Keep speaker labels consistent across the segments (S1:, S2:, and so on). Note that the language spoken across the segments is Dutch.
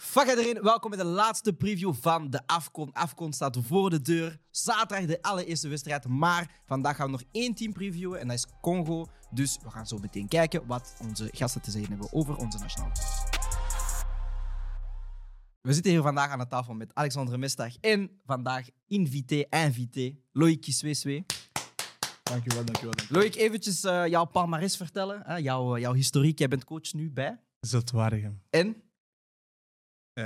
S1: Fuck iedereen, welkom bij de laatste preview van de Afcon. Afcon staat voor de deur. Zaterdag de allereerste wedstrijd. Maar vandaag gaan we nog één team previewen en dat is Congo. Dus we gaan zo meteen kijken wat onze gasten te zeggen hebben over onze nationale teams. We zitten hier vandaag aan de tafel met Alexander Mestag en vandaag invité, invité, Loïc Kisweswe.
S2: Dankjewel, dankjewel. dankjewel.
S1: Loïc, eventjes eh, jouw palmarès vertellen, hè, jouw, eh, jouw historiek. Jij bent coach nu bij.
S2: Ziltwaardigem.
S1: En?
S2: Eh,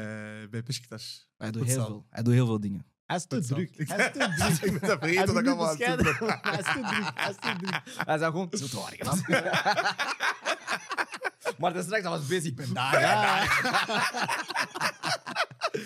S2: bij Besiktas.
S1: Hij doet heel
S2: Futsal.
S1: veel, hij doet heel veel dingen.
S3: Hij is te
S2: Futsal.
S3: druk. Hij is te druk.
S2: ik ben dat
S3: Hij
S2: vergeten
S3: doet
S2: dat ik
S3: niet
S2: allemaal aan het doen
S3: bescheiden. Hij is te druk. Hij is te druk.
S1: Hij zei gewoon, zo te warrig, man. Maar dat straks, dat was bezig. Ik ben daar,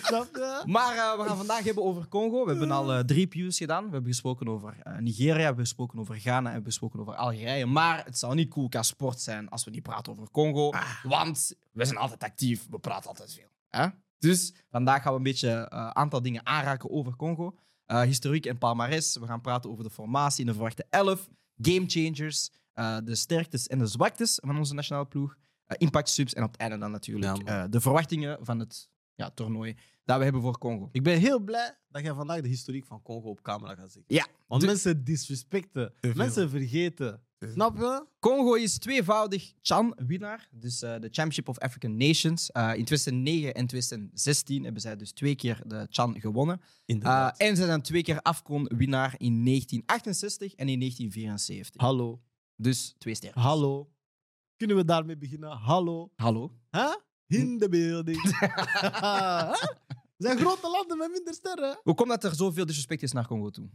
S3: Snap je?
S1: Maar eh, we gaan vandaag hebben over Congo. We hebben al eh, drie views gedaan. We hebben gesproken over eh, Nigeria, we hebben gesproken over Ghana en we hebben gesproken over Algerije. Maar het zou niet cool qua sport zijn als we niet praten over Congo.
S3: Ah.
S1: Want we zijn altijd actief, we praten altijd veel. Hè? Dus vandaag gaan we een beetje een aantal dingen aanraken over Congo. Eh, historiek en palmares. We gaan praten over de formatie in de verwachte elf. Game changers, eh, de sterktes en de zwaktes van onze nationale ploeg. eh, impact subs en op het einde dan natuurlijk
S3: Ja,
S1: eh, de verwachtingen van het ja, toernooi dat we hebben voor Congo.
S3: Ik ben heel blij dat jij vandaag de historiek van Congo op camera gaat zien.
S1: Ja.
S3: Want mensen disrespecten.
S2: veel.
S3: Mensen vergeten.
S2: veel.
S3: Snap je?
S1: Congo is tweevoudig Chan-winnaar, dus eh, de Championship of African Nations. Eh, in 2009 en 2016 hebben zij dus twee keer de Chan gewonnen. Eh, en zij zijn twee keer Afcon-winnaar in 1968 en in 1974.
S3: Ah, Hallo.
S1: dus twee sterren.
S3: Hallo. Kunnen we daarmee beginnen? Hallo.
S1: Hallo.
S3: Huh? In de building. Huh? zijn grote landen met minder sterren.
S1: Hoe komt dat er zoveel disrespect is naar Congo toe?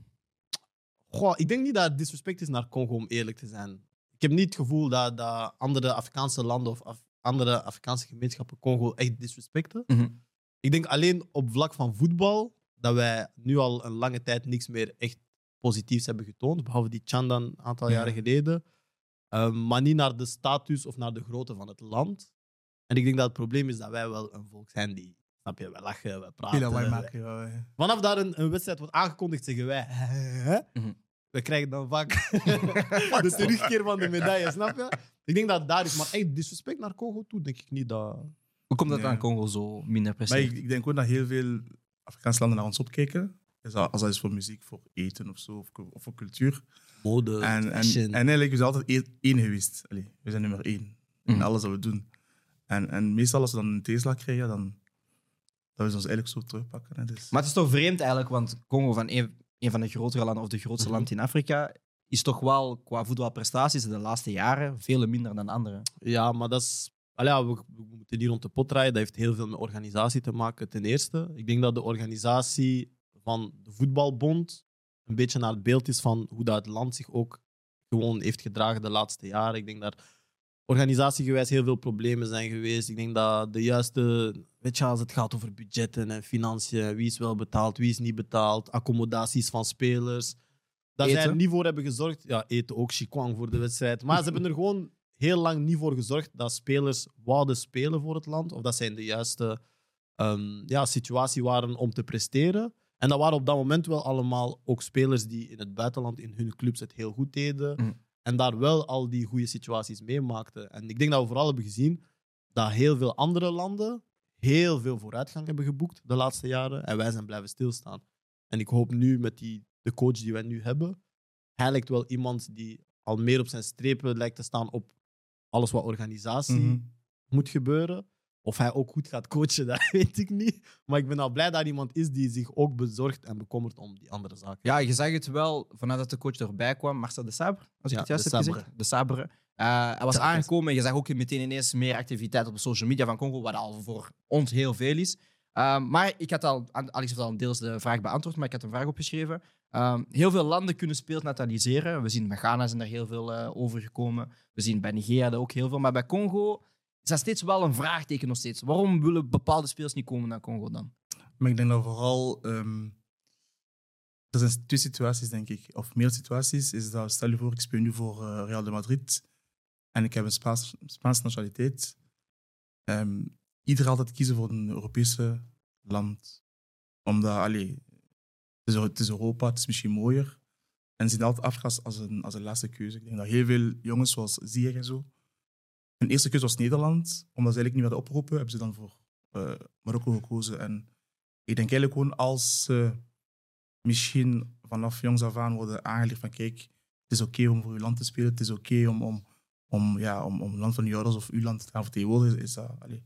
S3: Goh, ik denk niet dat het disrespect is naar Congo, om eerlijk te zijn. Ik heb niet het gevoel dat, dat andere Afrikaanse landen of Af- andere Afrikaanse gemeenschappen Congo echt disrespecten.
S1: Mhm.
S3: Ik denk alleen op vlak van voetbal dat wij nu al een lange tijd niks meer echt positiefs hebben getoond. Behalve die Chandan een aantal
S2: Ja.
S3: jaren geleden. Eh, maar niet naar de status of naar de grootte van het land. En ik denk dat het probleem is dat wij wel een volk zijn die, snap je, wij lachen, wij praten.
S2: Kila wij
S3: wij-
S2: maken. ja, wij.
S3: Vanaf daar een, een wedstrijd wordt aangekondigd, zeggen wij. hè?
S1: Mhm.
S3: We krijgen dan vaak de terugkeer van de medaille, snap je? Ik denk dat daar is, maar echt disrespect naar Congo toe, denk ik niet dat.
S1: Hoe komt dat
S2: Nee.
S1: aan Congo zo minder
S2: Maar
S1: presteert?
S2: ik, ik denk ook dat heel veel Afrikaanse landen naar ons opkijken. Dus dat- als dat is voor muziek, voor eten of zo, of, cu- of voor cultuur.
S3: Mode,
S2: En, en, en eigenlijk, we zijn altijd e- één geweest. Allee, we zijn nummer één in
S1: Mhm.
S2: alles dat we doen. En, en meestal als we dan een tegenslag krijgen, dan dat we ze ons eigenlijk zo terugpakken. Hè. Dus,
S1: Maar het is toch vreemd eigenlijk, want Congo van een, een van de grotere landen of de grootste
S3: Mhm.
S1: land in Afrika is toch wel qua voetbalprestaties de laatste jaren veel minder dan anderen.
S3: Ja, maar dat is. Allee, ja, we, we moeten niet rond de pot draaien. Dat heeft heel veel met organisatie te maken, ten eerste. Ik denk dat de organisatie van de voetbalbond een beetje naar het beeld is van hoe dat het land zich ook gewoon heeft gedragen de laatste jaren. Ik denk dat organisatiegewijs heel veel problemen zijn geweest. Ik denk dat de juiste, weet je, als het gaat over budgetten en financiën, wie is wel betaald, wie is niet betaald, accommodaties van spelers. Dat zij
S1: Eten.
S3: er niet voor hebben gezorgd. Ja, eten ook Chikwang voor de wedstrijd. Maar ze hebben er gewoon heel lang niet voor gezorgd dat spelers wouden spelen voor het land. Of dat zij in de juiste ehm, ja, situatie waren om te presteren. En dat waren op dat moment wel allemaal ook spelers die in het buitenland in hun clubs het heel goed deden.
S1: Mm.
S3: En daar wel al die goede situaties meemaakten. En ik denk dat we vooral hebben gezien dat heel veel andere landen heel veel vooruitgang hebben geboekt de laatste jaren. En wij zijn blijven stilstaan. En ik hoop nu met die, de coach die wij nu hebben, hij lijkt wel iemand die al meer op zijn strepen lijkt te staan op alles wat organisatie
S2: Mhm.
S3: moet gebeuren. Of hij ook goed gaat coachen, dat weet ik niet. Maar ik ben al blij dat er iemand is die zich ook bezorgt en bekommert om die andere zaken.
S1: Ja, je zag het wel vanuit dat de coach erbij kwam, Marcel de Sabre, als ik
S3: Ja,
S1: het juist
S3: de
S1: heb gezegd.
S3: Sabre.
S1: De Sabre. Eh, hij was
S3: Ja,
S1: aangekomen en je zag ook meteen ineens meer activiteit op de social media van Congo, wat al voor ons heel veel is. Ehm, maar ik had al, Alex heeft al deels de vraag beantwoord, maar ik had een vraag opgeschreven. Ehm, heel veel landen kunnen speelnataliseren. We zien bij Ghana zijn er heel veel eh, overgekomen. We zien bij Nigeria er ook heel veel. Maar bij Congo is dat steeds wel een vraagteken nog steeds. Waarom willen bepaalde spelers niet komen naar Congo dan?
S2: Maar ik denk dat vooral. ehm er zijn twee situaties, denk ik, of meer situaties. Is dat, stel je voor, ik speel nu voor eh, Real de Madrid en ik heb een Spaans, Spaanse nationaliteit. Ehm ieder altijd kiezen voor een Europese land. Omdat, allee, het is, het is Europa, het is misschien mooier. En ze zien altijd Afrika als- als een, als een laatste keuze. Ik denk dat heel veel jongens, zoals Zier en zo, hun eerste keuze was Nederland. Omdat ze eigenlijk niet werden opgeroepen, hebben ze dan voor eh, Marokko gekozen. En ik denk eigenlijk gewoon als ze misschien vanaf jongs af aan worden aangeleerd van kijk, het is oké om voor uw land te spelen, het is oké om, om, om, ja, om, om land van uw ouders of uw land te gaan vertegenwoordigen, is dat, allee,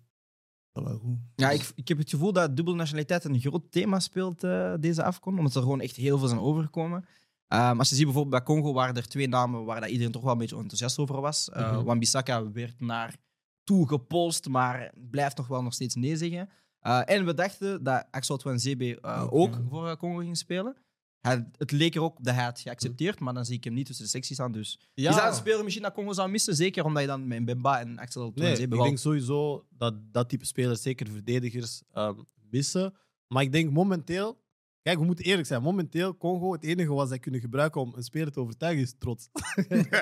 S2: dat wel goed.
S1: Ja,
S3: Dus-
S1: ik, ik heb het gevoel dat dubbele nationaliteit een groot thema speelt eh, deze afkomst, omdat er gewoon echt heel veel zijn overgekomen. Ehm, als je ziet bijvoorbeeld bij Congo waren er twee namen waar dat iedereen toch wel een beetje enthousiast over was. Eh
S3: Mhm.
S1: Wan-Bissaka werd naar toe gepolst, maar blijft nog wel nog steeds nee zeggen. Eh, en we dachten dat Axel Twanzebe eh
S2: Ook,
S1: ook
S2: ja.
S1: voor eh, Congo ging spelen. Hij, het leek er ook dat hij het geaccepteerd, maar dan zie ik hem niet tussen de secties aan. Dus
S3: Ja.
S1: is dat een speler misschien dat Congo zou missen? Zeker omdat je dan met Mbemba en Axel
S3: Nee,
S1: Twanzebe
S3: ik denk sowieso dat dat type spelers, zeker verdedigers, ehm, missen. Maar ik denk momenteel... Kijk, we moeten eerlijk zijn. Momenteel, Congo, het enige wat zij kunnen gebruiken om een speler te overtuigen, is trots.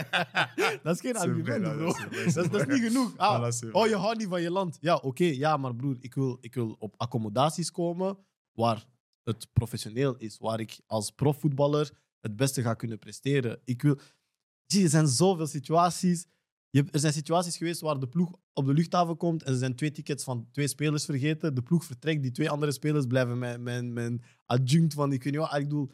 S3: dat is geen argument, bro. Dat is, dat is niet genoeg. Ah, oh, je houdt niet van je land. Ja, oké. ja, maar broer, ik wil, ik wil op accommodaties komen waar het professioneel is. Waar ik als profvoetballer het beste ga kunnen presteren. Ik wil... Zie, er zijn zoveel situaties. Je, hebt- er zijn situaties geweest waar de ploeg op de luchthaven komt en er zijn twee tickets van twee spelers vergeten. De ploeg vertrekt, die twee andere spelers blijven mijn, mijn, mijn adjunct van ik weet niet wat. Ah, Ik bedoel,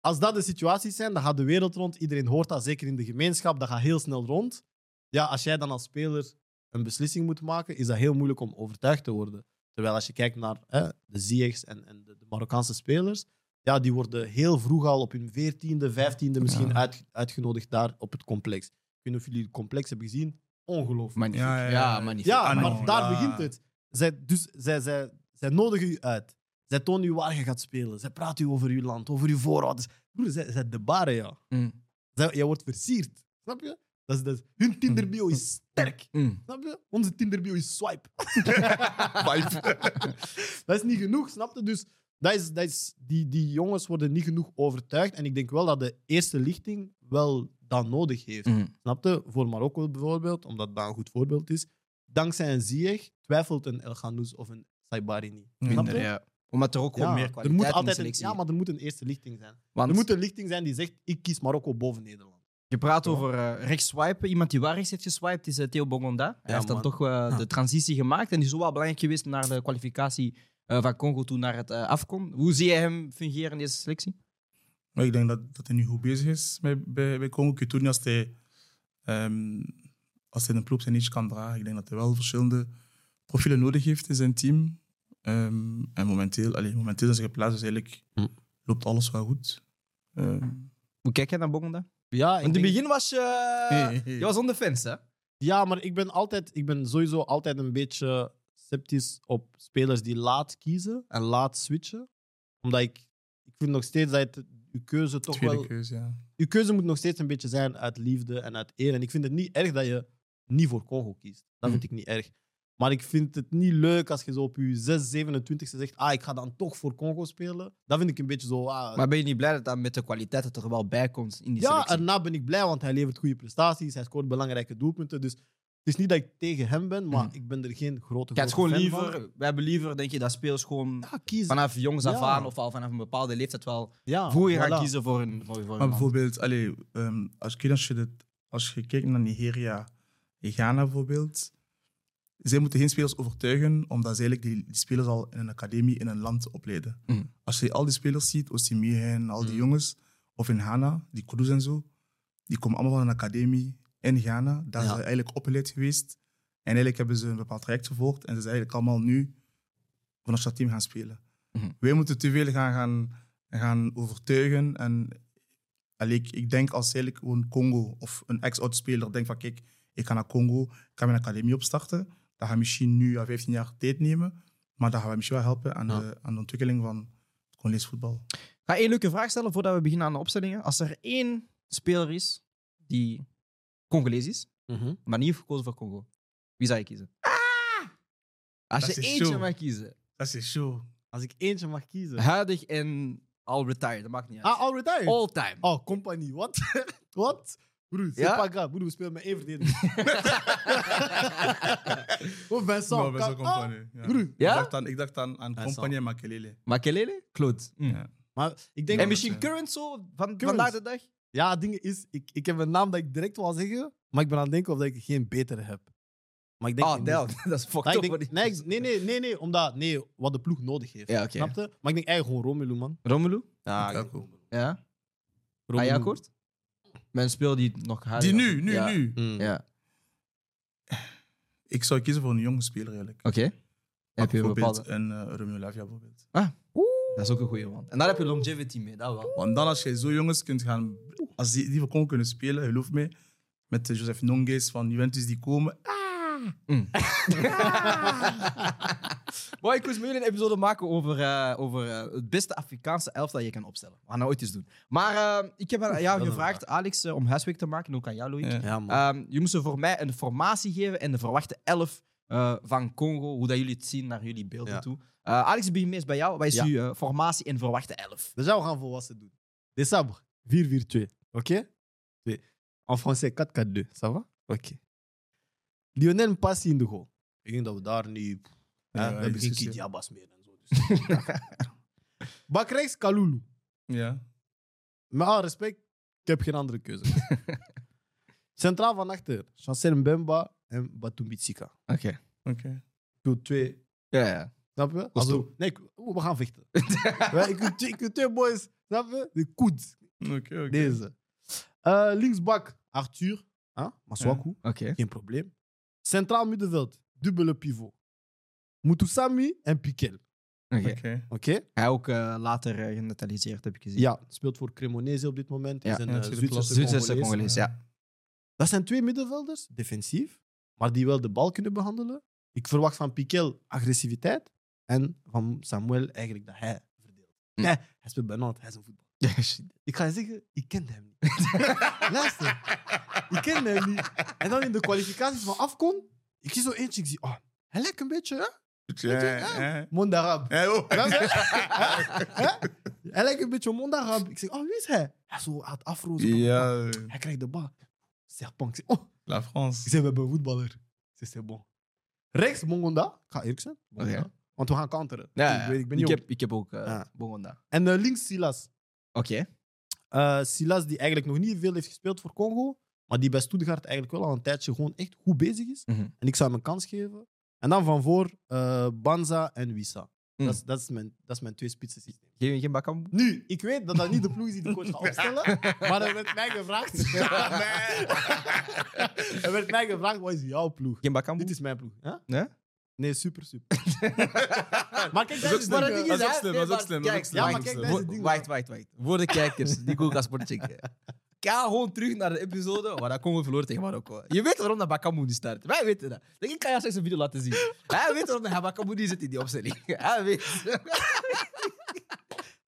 S3: als dat de situaties zijn, dan gaat de wereld rond. Iedereen hoort dat, zeker in de gemeenschap. Dat gaat heel snel rond. Ja, als jij dan als speler een beslissing moet maken, is dat heel moeilijk om overtuigd te worden. Terwijl als je kijkt naar hè, de Ziyegs en, en de, de Marokkaanse spelers, ja, die worden heel vroeg al op hun veertiende, vijftiende misschien
S2: Ja.
S3: uit- uitgenodigd daar op het complex. Ik weet niet of jullie het complex hebben gezien. Ongelooflijk.
S1: Magnifiek.
S2: Ja, ja, ja.
S1: magnifiek.
S3: Ja,
S2: Ah,
S3: maar
S2: no.
S3: daar
S2: Ja.
S3: begint het. Zij, dus zij, zij, zij nodigen u uit. Zij tonen u waar je gaat spelen. Zij praten u over uw land, over uw voorouders. Broer, zij, zij de baren, ja.
S1: Mm,
S3: Zij, jij wordt versierd. Snap je? Dat is, dat is- hun Tinder-bio is sterk.
S1: mm.
S3: Snap je? Onze Tinder-bio is swipe. dat is niet genoeg, snap je? Dus dat is, dat is, die, die jongens worden niet genoeg overtuigd. En ik denk wel dat de eerste lichting wel dat nodig heeft.
S1: Mhm.
S3: Snapte? Voor Marokko bijvoorbeeld, omdat dat een goed voorbeeld is. Dankzij een Ziyech twijfelt een El Ghanouz of een Saibari niet. Snap je?
S1: Minder, ja. Omdat er ook gewoon meer
S3: er
S1: kwaliteit
S3: moet
S1: in de
S3: altijd een,
S1: selectie
S3: ja, maar er moet een eerste lichting zijn.
S1: Want
S3: Er moet een lichting zijn die zegt, ik kies Marokko boven Nederland.
S1: je praat over eh rechts swipen. Iemand die waar rechts heeft geswiped is eh, Theo Bongonda. Hij
S3: Ja,
S1: heeft dan
S3: man.
S1: toch eh, de transitie gemaakt. En die is wel belangrijk geweest naar de kwalificatie eh, van Congo toe naar het eh AFCON. Hoe zie jij hem fungeren in deze selectie?
S2: Maar ik denk dat, dat hij nu goed bezig is bij, bij, bij Congo. Ik weet ook niet als hij, ehm, als hij een ploeg zijn eentje kan dragen. Ik denk dat hij wel verschillende profielen nodig heeft in zijn team. Ehm, en momenteel, allee, momenteel zijn ze geplaatst, dus eigenlijk
S3: Hm.
S2: loopt alles wel goed. Ehm,
S1: Hoe kijk jij naar Bongonda?
S3: Ja,
S1: In het begin was je...
S3: Eh,
S2: Hey, hey.
S1: Je was on the fence, hè?
S3: Ja, maar ik ben, altijd, ik ben sowieso altijd een beetje sceptisch op spelers die laat kiezen en laat switchen. Omdat ik, ik vind nog steeds dat het, je keuze toch
S2: tweede
S3: wel...
S2: keuze, ja.
S3: Je keuze moet nog steeds een beetje zijn uit liefde en uit eer. En ik vind het niet erg dat je niet voor Congo kiest.
S1: Mhm.
S3: Dat vind ik niet erg. Maar ik vind het niet leuk als je zo op je 6, 27 zegt... Ah, ik ga dan toch voor Congo spelen. Dat vind ik een beetje zo... Ah,
S1: Maar ben je niet blij dat dat met de kwaliteit dat er wel bij komt in die
S3: ja,
S1: selectie?
S3: daarna ben ik blij, want hij levert goede prestaties. Hij scoort belangrijke doelpunten. Dus het is niet dat ik tegen hem ben, maar
S1: Mhm.
S3: ik ben er geen grote
S1: Ik had
S3: grote
S1: gewoon
S3: fan
S1: liever...
S3: van.
S1: We hebben liever, denk je, dat spelers gewoon
S3: Ja, kiezen.
S1: vanaf jongs af
S3: Ja.
S1: aan of al vanaf een bepaalde leeftijd wel
S3: ja,
S1: vroeger
S3: Ah, voilà.
S1: gaan kiezen voor een voor, voor
S2: Maar
S1: een land.
S2: bijvoorbeeld, allee, ehm, als, je, kijkt- als, je dit- als je kijkt naar Nigeria en Ghana bijvoorbeeld, zij moeten geen spelers overtuigen, omdat ze eigenlijk die, die spelers al in een academie in een land opleiden.
S1: Mhm.
S2: Als je al die spelers ziet, Osimhen en al die
S3: Mhm.
S2: jongens, of in Ghana, die Kudus en zo, die komen allemaal van een academie in Ghana. Daar
S3: Ja.
S2: zijn ze eigenlijk opgeleid geweest. En eigenlijk hebben ze een bepaald traject gevolgd en ze zijn eigenlijk allemaal nu vanaf dat team gaan spelen.
S1: Mhm.
S2: Wij moeten te veel gaan, gaan, gaan overtuigen en Allee, ik, ik denk als eigenlijk gewoon Congo of een ex-oudspeler denkt van kijk, ik ga naar Congo, ik ga mijn academie opstarten. Dat gaat misschien nu ja, 15 jaar tijd nemen, maar dat gaat mij misschien wel helpen aan,
S3: Ja.
S2: de, aan de ontwikkeling van het Congolese voetbal.
S1: Ik ga één leuke vraag stellen voordat we beginnen aan de opstellingen. Als er één speler is die Congolees is,
S3: Mhm.
S1: maar niet heeft gekozen voor Congo, wie zou je kiezen?
S3: Ah!
S1: Als
S2: Dat
S1: je
S2: is
S1: eentje
S2: zo.
S1: mag kiezen,
S2: Dat is show.
S3: Als ik eentje mag kiezen.
S1: huidig en al retired, dat maakt niet uit.
S3: Ah, al retired?
S1: All time.
S3: Oh, compagnie. Wat? Wat? Broer, c'est
S1: Ja?
S3: pas grave. Broer, we spelen met één verdediger. of
S2: Nou,
S3: Vincent.
S2: best wel
S3: Kan- Ah,
S2: compagnie. Ja.
S3: broer.
S1: Ja?
S2: Ik dacht aan, ik dacht aan, aan
S3: Vincent.
S2: Compagnie en Makelele.
S1: Makelele? Claude. Mm.
S2: Ja.
S3: Maar ik denk... eh,
S1: En
S2: dat
S1: misschien
S2: het,
S1: current zo, van,
S3: Current.
S1: vandaag de dag?
S3: Ja, het ding is, ik, ik heb een naam dat ik direct wil zeggen, maar ik ben aan het denken of dat ik er geen betere heb. Maar Maar ik denk
S1: Ah,
S3: niet-
S1: Del, dat is fucked
S3: Nee,
S1: up.
S3: ik
S1: wat
S3: denk-
S1: die-
S3: nee, ik- nee, nee, nee, nee, omdat nee, wat de ploeg nodig heeft.
S1: Ja, oké.
S3: Snapte? Maar ik denk eigenlijk gewoon Romelu, man.
S1: Romelu?
S3: Ja,
S2: Ja, cool.
S1: Ja.
S3: Romelu.
S1: Ajakkoord? Mijn speel die nog harder
S2: Die
S1: was.
S2: nu, nu,
S1: ja.
S2: nu.
S3: Mm.
S1: Ja,
S2: Ik zou kiezen voor een jonge speler eigenlijk.
S1: oké. Heb je een
S2: bijvoorbeeld
S1: bepaalde...
S2: een eh, Romeo Lavia bijvoorbeeld.
S1: Dat is ook een goeie, man. En daar heb je longevity mee, dat wel.
S2: Want dan als je zo jongens kunt gaan, als die, die we kon kunnen spelen, geloof me, met eh, Joseph Nonges van Juventus die komen.
S1: Boy, ik moest met jullie een episode maken over, eh, over eh, het beste Afrikaanse elf dat je kan opstellen. We gaan dat ooit eens doen. Maar eh, ik heb aan jou
S3: Dat is
S1: gevraagd, Alex, eh, om huiswerk te maken. En ook aan jou, Loïc.
S2: Ja.
S3: Ja, man.
S1: Ehm, je moest er voor mij een formatie geven en de verwachte elf eh, van Congo. Hoe dat jullie het zien naar jullie beelden
S3: Ja.
S1: toe. Eh, Alex, ik begin eerst bij jou. Wat is
S3: Ja.
S1: uw eh, formatie en verwachte elf?
S3: Déjà, we gaan volwassen doen. Décembre, 4-4-2. OK Twee. En français, 4-4-2. Ça va OK. Lionel Passi in de goal. Ik denk dat we daar nu... hè,
S2: Ja,
S3: we hebben geen
S2: discussie.
S3: Kidiabas meer en zo. Dus. Bak rechts, Kalulu.
S2: Ja.
S3: Met alle respect, ik heb geen andere keuze. Centraal van achter, Chancel Mbemba en Batumbitsika.
S1: Oké.
S2: Oké.
S3: Ik wil twee
S1: Ja, ja.
S3: Snap je? Also, nee, ik- oeh, we gaan vechten. Ja, ik, wil twee, ik wil twee boys. Snap je? De koed.
S2: Oké, oké.
S3: Deze. Eh, linksbak, Arthur. Huh? Maswaku.
S1: Oké.
S3: Geen probleem. Centraal middenveld, dubbele pivot. Mutusami en Piquel.
S1: Oké.
S2: Oké.
S3: Oké?
S1: Hij ook eh, later eh, genataliseerd, heb ik gezien.
S3: Ja, speelt voor Cremonese op dit moment.
S1: Ja.
S3: Is een
S2: Ja,
S3: eh,
S2: tweede
S3: Zwitserse
S2: klasse.
S1: Zwitserse
S3: Congolees.
S1: Congolees, ja.
S3: Dat zijn twee middenvelders, defensief, maar die wel de bal kunnen behandelen. Ik verwacht van Piquel agressiviteit en van Samuel eigenlijk dat hij verdeelt.
S1: Hm.
S3: Nee, hij speelt bij Nantes, hij is een voetbal. Ik ga je zeggen, ik kende hem niet. Luister, ik kende hem niet. En dan in de kwalificaties van Afcon, ik zie zo eentje, ik zie, oh, hij lijkt een beetje, hè?
S2: Eh, eh.
S3: Mondarab.
S2: Eh, oh.
S3: Snap je? Hè? hij lijkt een beetje Mondarab. Ik zeg, oh, wie is hij? Hij zo had afro. zo-
S2: Ja, eh,
S3: Hij krijgt de bal. Serpent. Ik zeg, oh,
S2: La
S3: ik
S2: France.
S3: zei, we hebben een voetballer. Ik zei, c'est bon. Rechts, Mongonda. Ik ga eerlijk zijn. Mongonda.
S1: Oké.
S3: Want we gaan counteren.
S1: Ja,
S3: ik, weet, ik ben
S1: ik,
S3: jong.
S1: heb, ik heb ook eh
S3: Ja.
S1: Bongonda.
S3: En eh, links, Silas.
S1: Oké.
S3: Eh, Silas, die eigenlijk nog niet veel heeft gespeeld voor Congo. Maar die bij Stuttgart eigenlijk wel al een tijdje gewoon echt goed bezig is.
S1: Mhm.
S3: En ik zou hem een kans geven. En dan van voor eh, Banza en Wissa.
S1: Mm.
S3: Dat, is, dat, is mijn, dat is mijn twee spitsen systeem.
S1: Geen, geen Bakambu?
S3: Nu, ik weet dat dat niet de ploeg is die de coach gaat opstellen. maar er werd mij gevraagd. er werd mij gevraagd, wat is jouw ploeg?
S1: Geen Bakambu?
S3: Dit is mijn ploeg. Hè?
S1: Nee?
S3: Nee, super, super. maar kijk, dat
S2: ook
S3: is
S2: slim,
S3: maar
S2: hè?
S3: dat ding
S2: Dat
S3: is,
S2: is ook
S3: hè?
S2: slim, dat is ook slim, dat is
S3: Nee, maar
S1: Kijk,
S2: ook slim.
S3: ja, maar kijk, dat is het
S1: Wo-
S3: ding.
S1: Wacht, wacht, wacht. Voor de kijkers die Google Sport checken. Ga gewoon terug naar de episode waar dat Congo verloor tegen Marokko. Je weet waarom dat Bakambu niet start. Wij weten dat. Denk ik kan jou straks een video laten zien. Hij weet waarom dat Bakambu niet zit in die opstelling. Hij weet.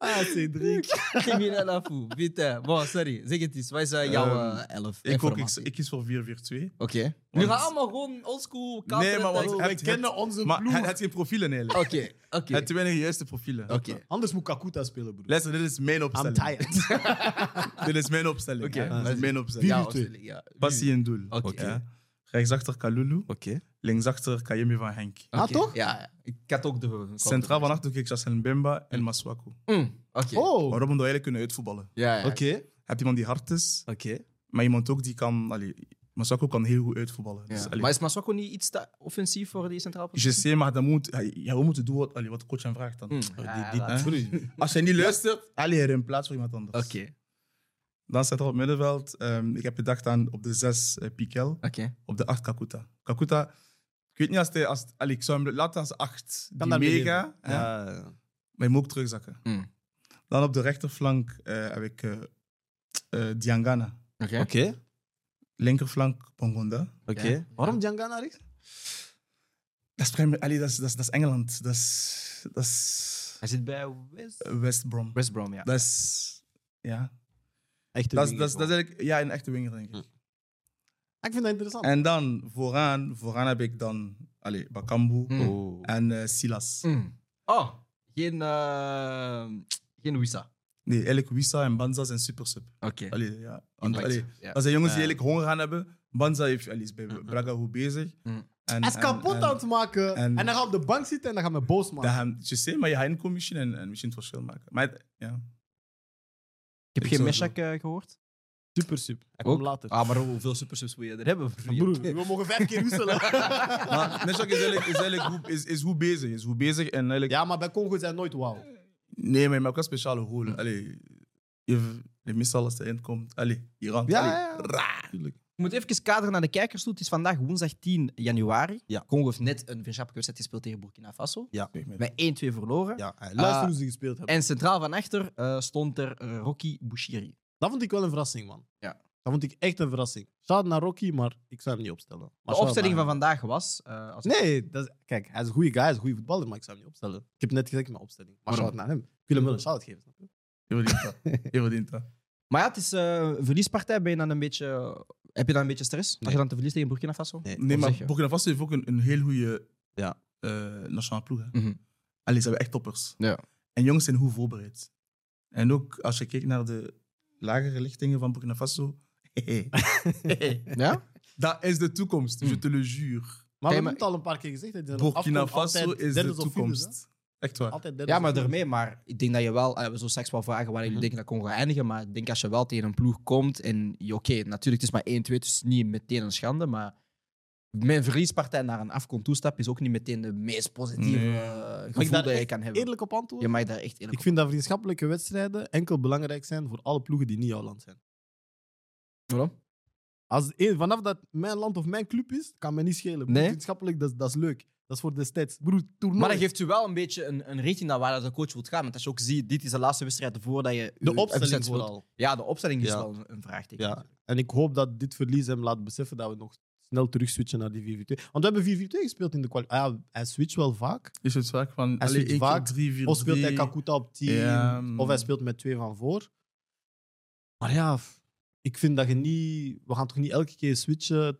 S3: Ah, Cedric.
S1: Crimineel afvoer. Putain. Bon, sorry. Zeg het eens. Wij zijn jouw
S2: Ehm,
S1: eh, elf.
S2: Ik, ook, ik,
S1: informatie.
S2: ik kies voor 4-4-2.
S1: Oké. Nu
S2: Want-
S1: gaan allemaal gewoon oldschool school
S2: Nee, maar wat-
S3: Bro,
S2: Hij
S3: wij
S2: heeft-
S3: kennen onze
S2: Maar
S3: ploeg.
S2: hij had geen profielen eigenlijk.
S1: Oké,
S2: Hij
S1: oké.
S2: had te weinig juiste profielen.
S1: Oké.
S3: Anders moet Kakuta spelen, broer.
S2: Luister, dit is mijn
S3: I'm
S2: opstelling.
S3: tired.
S2: Dit is mijn opstelling.
S1: Oké,
S2: hè. Dit is mijn opstelling.
S1: Ja,
S2: Ja,
S1: opstelling, ja.
S2: Passie en doel.
S1: Oké.
S2: Ja. Rechtsachter Kalulu.
S3: Oké.
S2: Linksachter Kayemi van Henk.
S1: Oké,
S3: Ah, toch?
S1: Ja, ja. Ik had ook de...
S2: Centraal van achter keek Chassel Bemba en Maswaku.
S1: Mm, Oké.
S3: Oh,
S2: Waarom
S3: oké.
S2: dat eigenlijk kunnen uitvoetballen?
S1: Ja, ja.
S2: Je hebt iemand die hard is,
S3: Oké.
S2: maar iemand ook die kan. Allee, Maswaku kan heel goed uitvoetballen. Dus,
S1: Ja.
S2: allee,
S1: Maar is Maswako niet iets te offensief voor die centraal
S2: je ziet, maar dat moet, allee, ja, we moeten doen wat, allee, wat de coach hem vraagt dan.
S1: Mm, ja, ja,
S2: hè?
S1: absoluut.
S2: Als je niet luistert, allee, er in plaats voor iemand anders.
S1: Oké,
S2: Dan staat er op middenveld. ehm, ik heb gedacht aan op de 6 Piquel,
S1: oké.
S2: op de 8 Kakuta. Kakuta, ik weet niet als hij. Als, allee, ik zou hem laten als 8.
S3: Kan
S2: Die
S3: daar mee
S2: mega.
S3: leven.
S2: hè,
S3: Ja.
S2: Maar je moet ook terugzakken.
S1: Mm.
S2: Dan op de rechterflank eh, heb ik eh, eh, Diangana.
S1: Oké.
S3: Oké.
S2: Linkerflank Bongonda.
S1: Ja.
S3: Oké. Waarom Djangana rechts?
S2: Dat is, premier, allee, dat is, dat is, dat is Engeland. Dat is, dat is
S1: Hij zit bij West...
S2: eh, West Brom.
S1: West Brom, ja.
S2: Dat is... Ja.
S3: Echt
S2: Dat is, dat, is, dat is eigenlijk... Ja, een echte winger, denk ik.
S1: Hm.
S3: Ah, Ik vind dat interessant.
S2: En dan vooraan, vooraan heb ik dan... Allee, Bakambu
S1: Mm.
S3: Oh.
S2: en eh, Silas.
S1: Mm. Oh, geen... eh geen Wissa.
S2: Nee, eigenlijk Wissa en Banza zijn super sub.
S1: Oké.
S2: Allee, ja. Want,
S1: Impact.
S2: allee,
S1: Ja. Hm,
S2: dat zijn jongens die
S3: Ja.
S2: eigenlijk honger gaan hebben. Banza heeft, allee, is bij Braga goed bezig.
S1: Mm.
S2: En,
S3: Hij is
S2: en-
S3: kapot
S2: en-
S3: aan het maken. En,
S2: en-
S3: dan gaat op de bank zitten en dan gaan we boos
S2: Dat
S3: maken.
S2: gaan, je ziet, maar je gaat inkomen misschien en, en misschien het verschil maken. Maar het- ja.
S1: Ik heb
S2: Ik
S1: geen
S2: sowieso.
S1: Meshak eh, gehoord.
S3: Super, super. Hij
S1: Ook?
S3: kwam later.
S1: Ah, maar hoeveel supersubs wil je er hebben? voor je-
S3: Broer, we mogen vijf keer wisselen.
S2: Maar Neshak is eigenlijk, is eigenlijk goed, is, is goed bezig. Is goed bezig en eigenlijk...
S3: ja, maar bij Congo zijn nooit wauw.
S2: Nee, maar je maakt wel speciale golen. Allee, je, je mist al als de eind komt. Allee, je ramt.
S3: Ja,
S2: allee,
S3: ja, ja.
S2: raar.
S1: Ik moet even kaderen naar de kijkers toe. Het is vandaag woensdag 10 januari.
S3: Ja.
S1: Congo heeft net een vriendschapswedstrijd gespeeld tegen Burkina Faso.
S3: Ja.
S1: Met 1-2 verloren.
S3: ja hey, luister
S1: Ah.
S3: hoe ze gespeeld hebben.
S1: En centraal van achter eh, stond er eh, Rocky Bouchiri.
S3: Dat vond ik wel een verrassing, man.
S1: Ja.
S3: Dat vond ik echt een verrassing. Shout naar Rocky, maar ik zou hem niet opstellen. Maar
S1: De
S3: shout
S1: opstelling
S3: naar
S1: van
S3: hem.
S1: vandaag was... eh, als
S3: Nee, dat is- kijk, hij is een goede guy, hij is een goede voetballer, maar ik zou hem niet opstellen. Ik heb net gezegd mijn opstelling. Maar
S1: Waarom?
S3: shout naar hem. Ik wil hem wel een shout geven. snap je?
S2: Je verdient dat. Je verdient dat.
S1: Maar ja, het is eh, een verliespartij. Ben je dan een beetje, heb je dan een beetje stress? Als
S3: Nee.
S1: je dan te verlies tegen Burkina Faso?
S3: Nee,
S2: Nee,
S1: Wat
S2: maar
S1: zeg je?
S2: Burkina Faso heeft ook een, een heel goede
S3: Ja.
S2: eh, nationale ploeg. Hè.
S1: Mhm.
S2: Allee, ze hebben echt toppers.
S1: Ja.
S2: En jongens zijn goed voorbereid. En ook als je kijkt naar de lagere lichtingen van Burkina Faso.
S1: Ja?
S2: dat is de toekomst, je te le jure.
S3: Maar we
S1: Kijk,
S3: hebben
S1: maar-
S3: het al een paar keer gezegd. hè. Die zijn
S2: Burkina
S3: afkomst
S2: Faso
S3: altijd
S2: is de
S3: derdes of vierdes,
S2: toekomst.
S3: hè.
S2: Echt waar.
S3: Altijd derdes
S1: ja,
S3: of
S1: maar
S3: vierdes.
S1: daarmee. Maar ik denk dat je wel... eh, we zullen straks wel vragen waar ik
S3: Mhm.
S1: denk dat Congo gaat eindigen. Maar ik denk als je wel tegen een ploeg komt... En je- oké, natuurlijk, het is maar 1-2. Dus niet meteen een schande. Maar mijn verliespartij naar een afkon toestap... is ook niet meteen de meest positieve
S2: Nee.
S1: eh,
S3: Mag ik
S1: gevoel
S3: daar
S1: dat je
S3: echt
S1: kan hebben.
S3: Eerlijk op antwoord.
S1: Je mag daar echt eerlijk
S3: Ik vind dat vriendschappelijke wedstrijden enkel belangrijk zijn voor alle ploegen die niet jouw land zijn.
S1: Waarom?
S3: Als een, vanaf dat mijn land of mijn club is, kan me niet schelen. Broer,
S1: Nee.
S3: Vriendschappelijk, dat, is- dat is leuk. Dat is voor de stats. Broer, toernooi.
S1: Maar dat geeft u wel een beetje een, een richting naar waar dat de coach wilt gaan. Want als je ook ziet, dit is de laatste wedstrijd voordat je... uw
S3: de opstelling
S1: wedstrijd speelt.
S3: vooral.
S1: Ja, de opstelling is
S3: Ja.
S1: wel een, een vraagteken.
S3: Ja. En ik hoop dat dit verlies hem laat beseffen dat we nog snel terug switchen naar die 4-4-2. Want we hebben 4-4-2 gespeeld in de kwal. Ah, ja, hij switcht wel vaak.
S2: Is het vaak van.
S3: Hij
S2: allee,
S3: switcht
S2: één keer
S3: vaak.
S2: Drie, vier,
S3: Of speelt hij
S2: drie.
S3: Kakuta op 10,
S2: Ja, mm.
S3: of hij speelt met twee van voor. Maar ja, f- ik vind dat je niet... We gaan toch niet elke keer switchen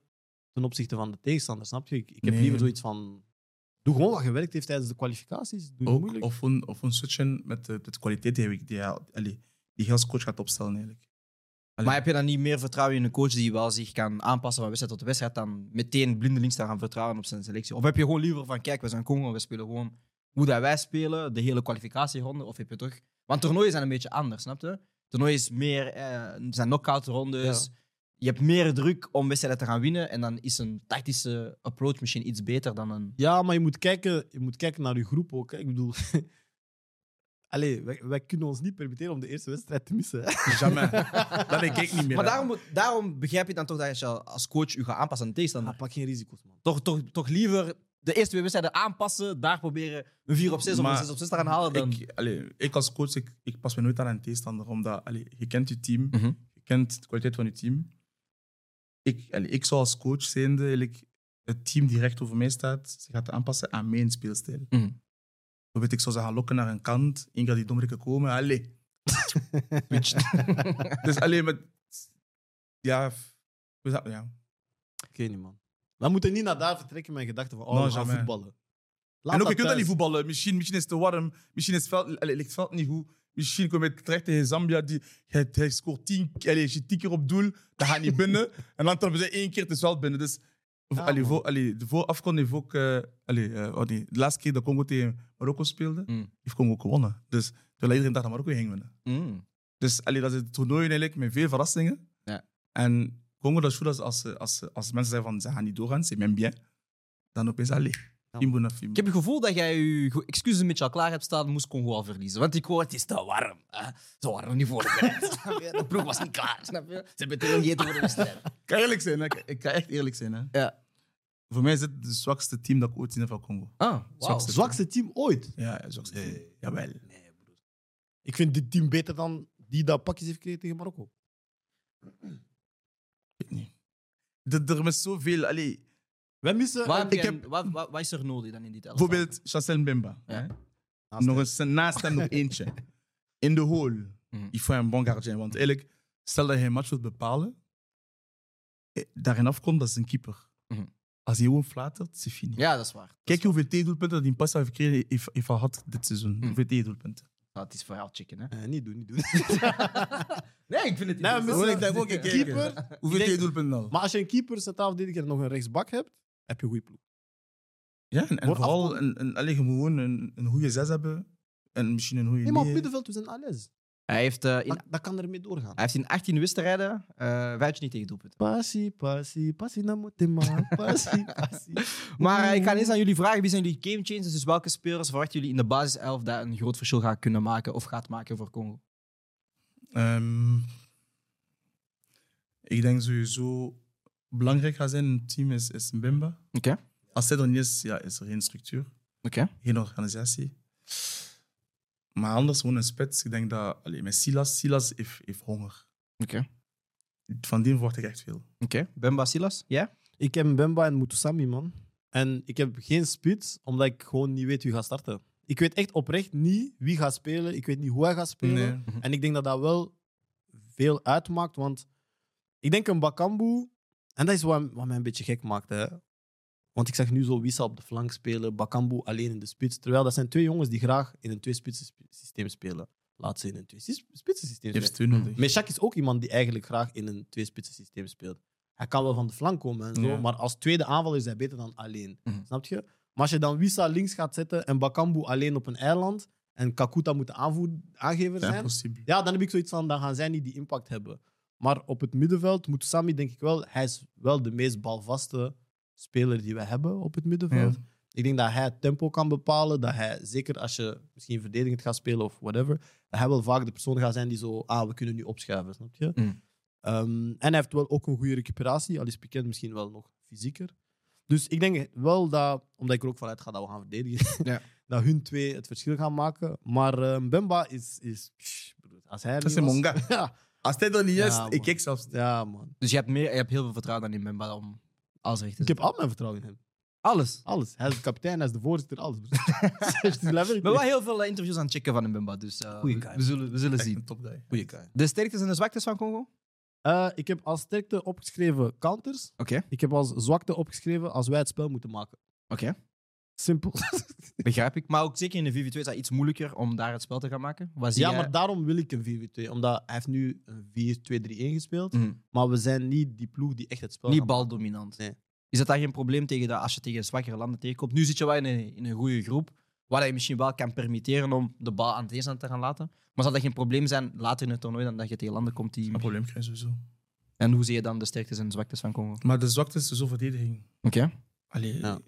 S3: ten opzichte van de tegenstander, snap je? Ik, ik heb
S2: Nee.
S3: liever zoiets van... Doe gewoon wat gewerkt heeft tijdens de kwalificaties. Doe niet
S2: Ook,
S3: moeilijk.
S2: of, een, of een switchen met de, met de kwaliteit die hij, die, hij- allee, die hij als coach gaat opstellen. Eigenlijk.
S1: Maar heb je dan niet meer vertrouwen in een coach die wel zich kan aanpassen van wedstrijd tot wedstrijd dan meteen blindelings te gaan vertrouwen op zijn selectie? Of heb je gewoon liever van, kijk, we zijn Congo, we spelen gewoon hoe dat wij spelen, de hele kwalificatieronde, of heb je toch... Want toernooien zijn een beetje anders, snap je? Toernooi is meer, eh, zijn knock-out rondes. Je hebt meer druk om wedstrijden te gaan winnen en dan is een tactische approach misschien iets beter dan een...
S3: Ja, maar je moet kijken, je moet kijken naar je groep ook. Hè. Ik bedoel... Allee, wij, wij kunnen ons niet permitteren om de eerste wedstrijd te missen. hè.
S2: Jamais. dat ik kijk niet meer.
S1: Maar
S2: hè.
S1: daarom, moet- daarom begrijp je dan toch dat je als coach je gaat aanpassen aan de tegenstander.
S3: Maar pak geen risico's, man.
S1: toch, toch, toch liever de eerste twee wedstrijden aanpassen, daar proberen een 4 op 6 of
S2: Maar
S1: een 6 op 6 te gaan halen. Dan...
S2: Ik, allee, ik als coach, ik, ik pas me nooit aan een tegenstander. Omdat allee, je kent je team,
S1: Mhm.
S2: je kent de kwaliteit van je team. Ik, allee, ik zou als coach zijnde eigenlijk het team die recht over mij staat, ze gaat aanpassen aan mijn speelstijl.
S1: Mhm.
S2: Bijvoorbeeld, ik zou ze gaan lokken naar een kant, één gaat die domrikken komen, allee. dus alleen met... Ja, f- we zaten- ja.
S3: Ik weet niet, man. We moeten niet naar daar vertrekken met gedachten van, oh,
S2: Nou,
S3: we gaan
S2: jamais.
S3: voetballen. Laat
S2: En ook, je kunt
S3: thuis.
S2: dat niet voetballen. Misschien, misschien is het te warm, misschien is het veld, allee, ligt het veld niet goed. Misschien kom je terecht tegen Zambia, die, hij, hij scoort tien, allee, als je tien keer op doel, dan gaat niet binnen. en dan trappen ze één keer, het is wel binnen. Dus
S3: Ja,
S2: allee,
S3: man.
S2: voor, allee, de voor afkon heeft ook... eh, allee, eh, oh nee, de laatste keer dat Congo tegen Marokko speelde,
S1: Mm.
S2: heeft Congo gewonnen. Dus terwijl iedereen dacht dat Marokko ging winnen.
S1: Mm.
S2: Dus allee, dat is het toernooi eigenlijk met veel verrassingen.
S1: Ja.
S2: En Congo, dat is goed als, als, ze- als, ze- als mensen zeggen van ze gaan niet doorgaan, c'est même bien. Dan opeens, allee,
S3: man.
S2: Fimbo na Fimbo.
S1: Ik heb het gevoel dat jij je go- excuses een beetje al klaar hebt staan, moest Congo al verliezen. Want ik hoor, het is te warm. hè. Ze waren nog niet voorbereid. snap je? de ploeg was niet klaar, snap je? Ze hebben tegen gegeten voor de wedstrijd.
S2: Ik kan eerlijk zijn, hè. Ik- ik kan echt eerlijk zijn. Hè.
S1: Ja.
S2: Voor mij is het het zwakste team dat ik ooit zien heb van Congo.
S1: Ah, wauw.
S3: Zwakste, zwakste team ooit.
S2: Ja, het zwakste team.
S3: Nee.
S2: Jawel.
S3: Nee, broer. Ik vind dit team beter dan die dat pakjes heeft gekregen tegen Marokko.
S2: De, er is zoveel. Allee,
S3: Wij missen...
S1: Wat, Eh, heb
S2: ik
S1: jij-
S2: heb-
S1: wat, wat, wat is er nodig dan in dit elftal?
S2: bijvoorbeeld Chancel Mbemba.
S1: Ja.
S2: hè.
S3: Naast
S2: Nog
S3: hem.
S2: eens naast hem nog eentje. In de hole.
S1: Mhm.
S2: Il faut een bon gardien. Want eigenlijk, stel dat hij een match wilt bepalen, eh, daarin afkomt, dat is een keeper.
S1: Mhm.
S2: Als hij gewoon flatert, is het fini.
S1: Ja, dat is waar.
S2: Kijk hoeveel T-doelpunten dat hij in pas heeft gekregen heeft, heeft gehad dit seizoen.
S1: Mhm.
S2: Hoeveel T-doelpunten.
S1: Ah, het is verhaal chicken, hè?
S3: Eh, niet doen, niet doen.
S1: Nee, Oh, ik vind het
S3: Nee,
S1: interessant.
S3: misschien-
S2: Ik dacht ook, ik kijk,
S3: Nou, Keeper.
S2: hè. Hoeveel
S3: Ik denk-
S2: T-doelpunten dan?
S3: maar als je een keeper, centraal verdediger en nog een rechtsbak hebt, heb je een goede ploeg.
S2: Ja, en, en
S3: Wordt
S2: vooral
S3: afgerond.
S2: een, een, allee, je moet gewoon een, een goede zes hebben. En misschien een goede
S3: Nee, maar op
S2: negen.
S3: middenveld, we zijn alles.
S1: Hij heeft, eh, in,
S3: Dat, dat kan ermee doorgaan.
S1: hij heeft in 18 wedstrijden eh vijf niet tegen doelpunten.
S3: Passie, passie, passie naar Motema. Passie, passie.
S1: Maar eh, ik ga eens aan jullie vragen, wie zijn jullie game changers? Dus welke spelers verwachten jullie in de basiself dat een groot verschil gaat kunnen maken of gaat maken voor Congo?
S2: Ehm, ik denk sowieso belangrijk gaat zijn in het team is, is Mbemba.
S1: Oké, oké.
S2: Als hij er niet is, ja, is er geen structuur, geen organisatie. Maar anders gewoon een spits. Ik denk dat... Allee, met Silas, Silas heeft, heeft honger.
S1: Oké.
S2: Van die verwacht ik echt veel.
S1: Oké, Bemba Silas, jij?
S3: Ik heb Bemba en Mutusami, man. En ik heb geen spits, omdat ik gewoon niet weet wie gaat starten. Ik weet echt oprecht niet wie gaat spelen. Ik weet niet hoe hij gaat spelen.
S2: Nee.
S3: En ik denk dat dat wel veel uitmaakt, want ik denk een Bakambu... En dat is wat, wat mij een beetje gek maakt, hè. Want ik zag nu zo Wissa op de flank spelen, Bakambu alleen in de spits. Terwijl dat zijn twee jongens die graag in een twee-spitsen systeem spelen. Laat ze in een twee-spitsen systeem
S2: Je hebt
S3: spelen.
S2: steun nodig.
S3: Meshak is ook iemand die eigenlijk graag in een tweespitsen systeem speelt. Hij kan wel van de flank komen en zo,
S2: Ja.
S3: maar als tweede aanval is hij beter dan alleen.
S1: Mhm.
S3: Snap je? Maar als je dan Wissa links gaat zetten en Bakambu alleen op een eiland en Kakuta moet de aanvoer, aangever
S2: Ja,
S3: zijn,
S2: possible.
S3: ja, dan heb ik zoiets van, dan gaan zij niet die impact hebben. Maar op het middenveld moet Sami, denk ik wel, hij is wel de meest balvaste speler die we hebben op het middenveld. Ik denk dat hij het tempo kan bepalen, dat hij, zeker als je misschien verdedigend gaat spelen of whatever, dat hij wel vaak de persoon gaat zijn die zo, ah, we kunnen nu opschuiven, snap je?
S1: Mm.
S3: Ehm, en hij heeft wel ook een goede recuperatie, al is Piquet misschien wel nog fysieker. Dus ik denk wel dat, omdat ik er ook vanuit ga dat we gaan verdedigen,
S1: Ja.
S3: dat hun twee het verschil gaan maken. Maar ehm, Bemba is... is psh, broer, als hij er
S2: Dat is
S3: niet
S2: een
S3: was-
S2: monga.
S3: Ja,
S2: Als hij er niet
S3: Ja,
S2: is,
S3: man.
S2: ik kijk zelfs niet.
S3: ja, man.
S1: Dus je hebt, meer, je hebt heel veel vertrouwen dan in Bemba om alles recht te
S3: Dus Ik
S1: zetten.
S3: heb al mijn vertrouwen in hem.
S1: Alles.
S3: Alles. Hij is de kapitein, hij is de voorzitter, alles. broer. Het is
S1: Ik ben wel
S3: lekker.
S1: heel veel eh, interviews aan het checken van Mbemba, dus eh,
S3: Goeie
S1: we,
S3: guy.
S1: we zullen, we zullen
S2: Echt
S1: zien.
S2: een topguy.
S3: Goeie guy.
S1: De sterktes en de zwaktes van Congo? Oké.
S3: Eh, ik heb als sterkte opgeschreven counters. Ik heb als zwakte opgeschreven als wij het spel moeten maken.
S1: Oké,
S3: Simpel.
S1: begrijp ik. Maar ook zeker in de VV2 is dat iets moeilijker om daar het spel te gaan maken. Wat zie
S3: ja,
S1: jij?
S3: maar daarom wil ik een 4-2. Omdat hij heeft nu een 4-2-3-1 gespeeld.
S1: Mhm.
S3: Maar we zijn niet die ploeg die echt het spel
S1: Niet
S3: gaat maken.
S1: baldominant.
S3: Nee.
S1: Is dat daar geen probleem tegen dat als je tegen zwakkere landen tegenkomt? Nu zit je wel in een, in een goede groep, waar je misschien wel kan permitteren om de bal aan het tegenstander te gaan laten. Maar zal dat geen probleem zijn later in het toernooi dan dat je tegen landen komt die...
S2: Een probleem krijg je sowieso.
S1: En hoe zie je dan de sterktes en de zwaktes van Congo? Oké.
S2: Maar de zwakte is sowieso verdediging. Allee,
S3: Ja.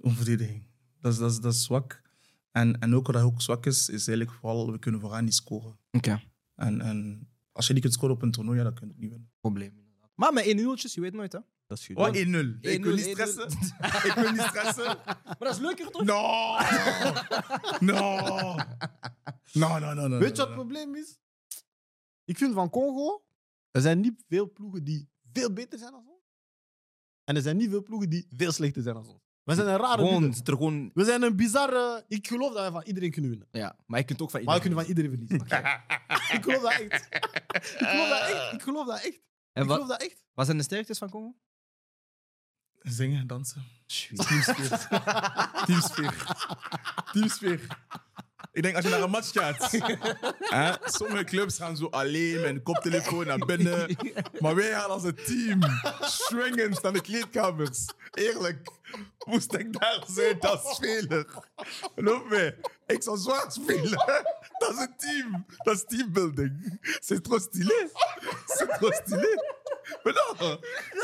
S2: onverdediging. Dat is, dat is, dat is zwak. En, en ook wat ook zwak is, is eigenlijk vooral we kunnen vooraan niet scoren.
S1: Oké.
S2: En, en als je niet kunt scoren op een toernooi, ja, dan kun je het niet winnen.
S1: Probleem, inderdaad. Maar met 1 0tjes je weet nooit, hè?
S3: Dat is goed.
S2: Oh, 1-0. Ik
S1: 1-0,
S2: wil niet
S1: 1-0.
S2: stressen. Ik wil niet stressen.
S1: Maar dat is leuker, toch?
S2: No! No! No, no, no, no.
S1: Eh.
S2: no,
S3: Weet je wat het
S2: no.
S3: probleem is? Ik vind van Congo, er zijn niet veel ploegen die veel beter zijn dan ons. En er zijn niet veel ploegen die veel slechter zijn dan ons. We zijn een rare
S1: Gewoon,
S3: midden.
S1: zit er gewoon...
S3: We zijn een bizarre... Ik geloof dat wij van iedereen kunnen winnen.
S1: Ja, maar je kunt ook van
S3: Maar we
S1: iedereen...
S3: kunnen van iedereen verliezen. ik geloof dat echt. Ik geloof dat echt. Ik geloof dat echt.
S1: En
S3: Ik
S1: wat,
S3: geloof dat echt.
S1: wat zijn de sterktes van Congo?
S2: Zingen, dansen. Teamsfeer. Teamsfeer. Teamsfeer. Ik denk, als je naar een match gaat, hè, sommige clubs gaan zo alleen met een koptelefoon naar binnen. Maar wij gaan als een team swingend naar de kleedkamers. Eerlijk, moest ik daar zijn als speler? Geloof me, ik zou zwaar spelen. Dat is een team. Dat is teambuilding. C'est trop stylé. C'est trop stylé. Maar non,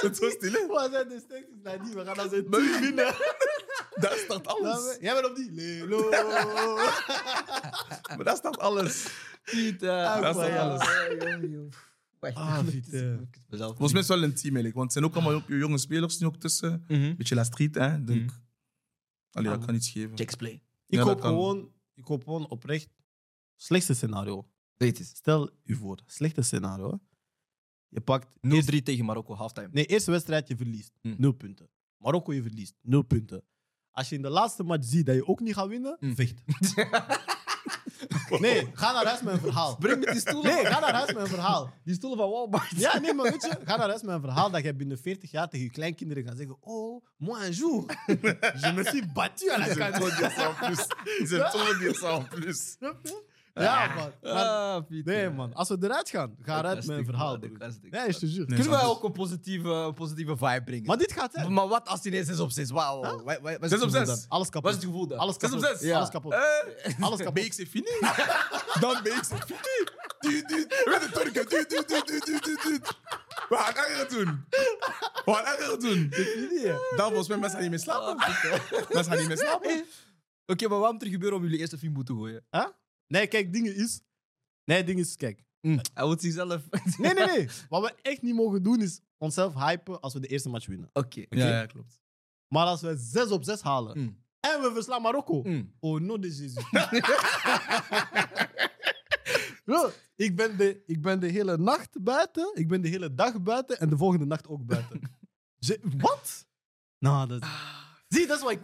S2: c'est trop stylé.
S3: Wat zijn de sterktes? Nou, die, we gaan als een
S2: Maar
S3: team
S2: wie
S3: winnen.
S2: Daar staat
S3: Nou, we-
S2: alles.
S3: Jij bent op die. Lelo.
S2: Maar daar staat alles.
S1: Piet,
S2: Dat is toch alles.
S3: Ah, Vite.
S2: Volgens mij is het wel een team eigenlijk. Want het zijn ook allemaal jo- jonge spelers nu ook tussen.
S1: eh.
S2: Beetje la street, hè. Dus
S1: Mhm.
S2: Allee, dat
S3: Ah.
S2: kan iets geven.
S1: Check play.
S3: Ik,
S2: Ja, dat
S3: hoop
S2: kan.
S3: gewoon, ik hoop gewoon oprecht. Slechtste scenario.
S1: Weet het.
S3: Stel u voor, slechte scenario. hè. Je pakt.
S1: 0-3
S3: eerst-
S1: tegen Marokko, halftime.
S3: nee, eerste wedstrijd je verliest.
S1: Hm.
S3: Nul punten. Marokko je verliest. Nul punten. Als je in de laatste match ziet dat je ook niet gaat winnen,
S1: Hm.
S3: vecht. nee, ga naar huis met een verhaal.
S1: Oh. Breng me die stoelen.
S3: Nee, ga naar huis met een verhaal.
S1: Die stoelen van Walmart.
S3: Ja, nee, maar weet je, ga naar huis met een verhaal dat jij binnen 40 jaar tegen je kleinkinderen gaat zeggen: Oh, moi un jour, je me suis battu à la
S2: Ils aiment
S3: canne.
S2: trop dire ça en plus. Ils aiment trop dire ça en plus.
S3: Snap je? Ja, man. Maar-
S1: Ah, Pieter.
S3: Nee, man. Als we eruit gaan, ga
S1: Dat
S3: eruit
S1: is
S3: met mijn
S1: dik,
S3: verhaal.
S1: man.
S3: broer.
S1: Dat is dik.
S3: Nee, is te zuur.
S2: Nee,
S1: Kunnen wij
S2: snap
S1: ook een positieve, een positieve vibe brengen?
S3: Maar dit gaat, hè.
S1: Maar wat als die ineens 6 op 6? Wauw. Wa- wa- wa- wat is het
S2: Zes op
S1: gevoel
S2: zes.
S1: dan?
S3: Alles
S1: Wat is het
S3: kapot.
S1: gevoel dan?
S3: Alles
S2: Zes op
S3: kapot.
S2: zes.
S3: Alles
S1: Ja.
S3: kapot.
S2: Eh,
S3: Alles kapot.
S2: BX is fini. Dan BX is fini. Duut, duut. Met de Turken. Duut, duut, duut, duut, duut, duut, duut. We gaan erger doen. We gaan erger doen. Dan volgens mij mensen gaan niet meer slapen.
S1: Ah.
S2: Mensen gaan niet meer slapen.
S1: Oké, maar wat moet er gebeuren om jullie eerste film moeten gooien?
S3: Nee, kijk, dingen is... Nee, dingen is, kijk.
S1: Hij moet zichzelf... Oké.
S3: Nee, nee, nee. Wat we echt niet mogen doen is onszelf hypen als we de eerste match winnen.
S2: Ja, ja, klopt.
S3: Maar als we 6 op 6 halen
S1: Mm.
S3: en we verslaan Marokko.
S1: Mm.
S3: Oh, no, de Jezus. Bro, ik, ben de, ik ben de hele nacht buiten, ik ben de hele dag buiten en de volgende nacht ook buiten. Ze- Wat? Nou, dat
S1: Ah.
S3: Zie, dat is wat ik.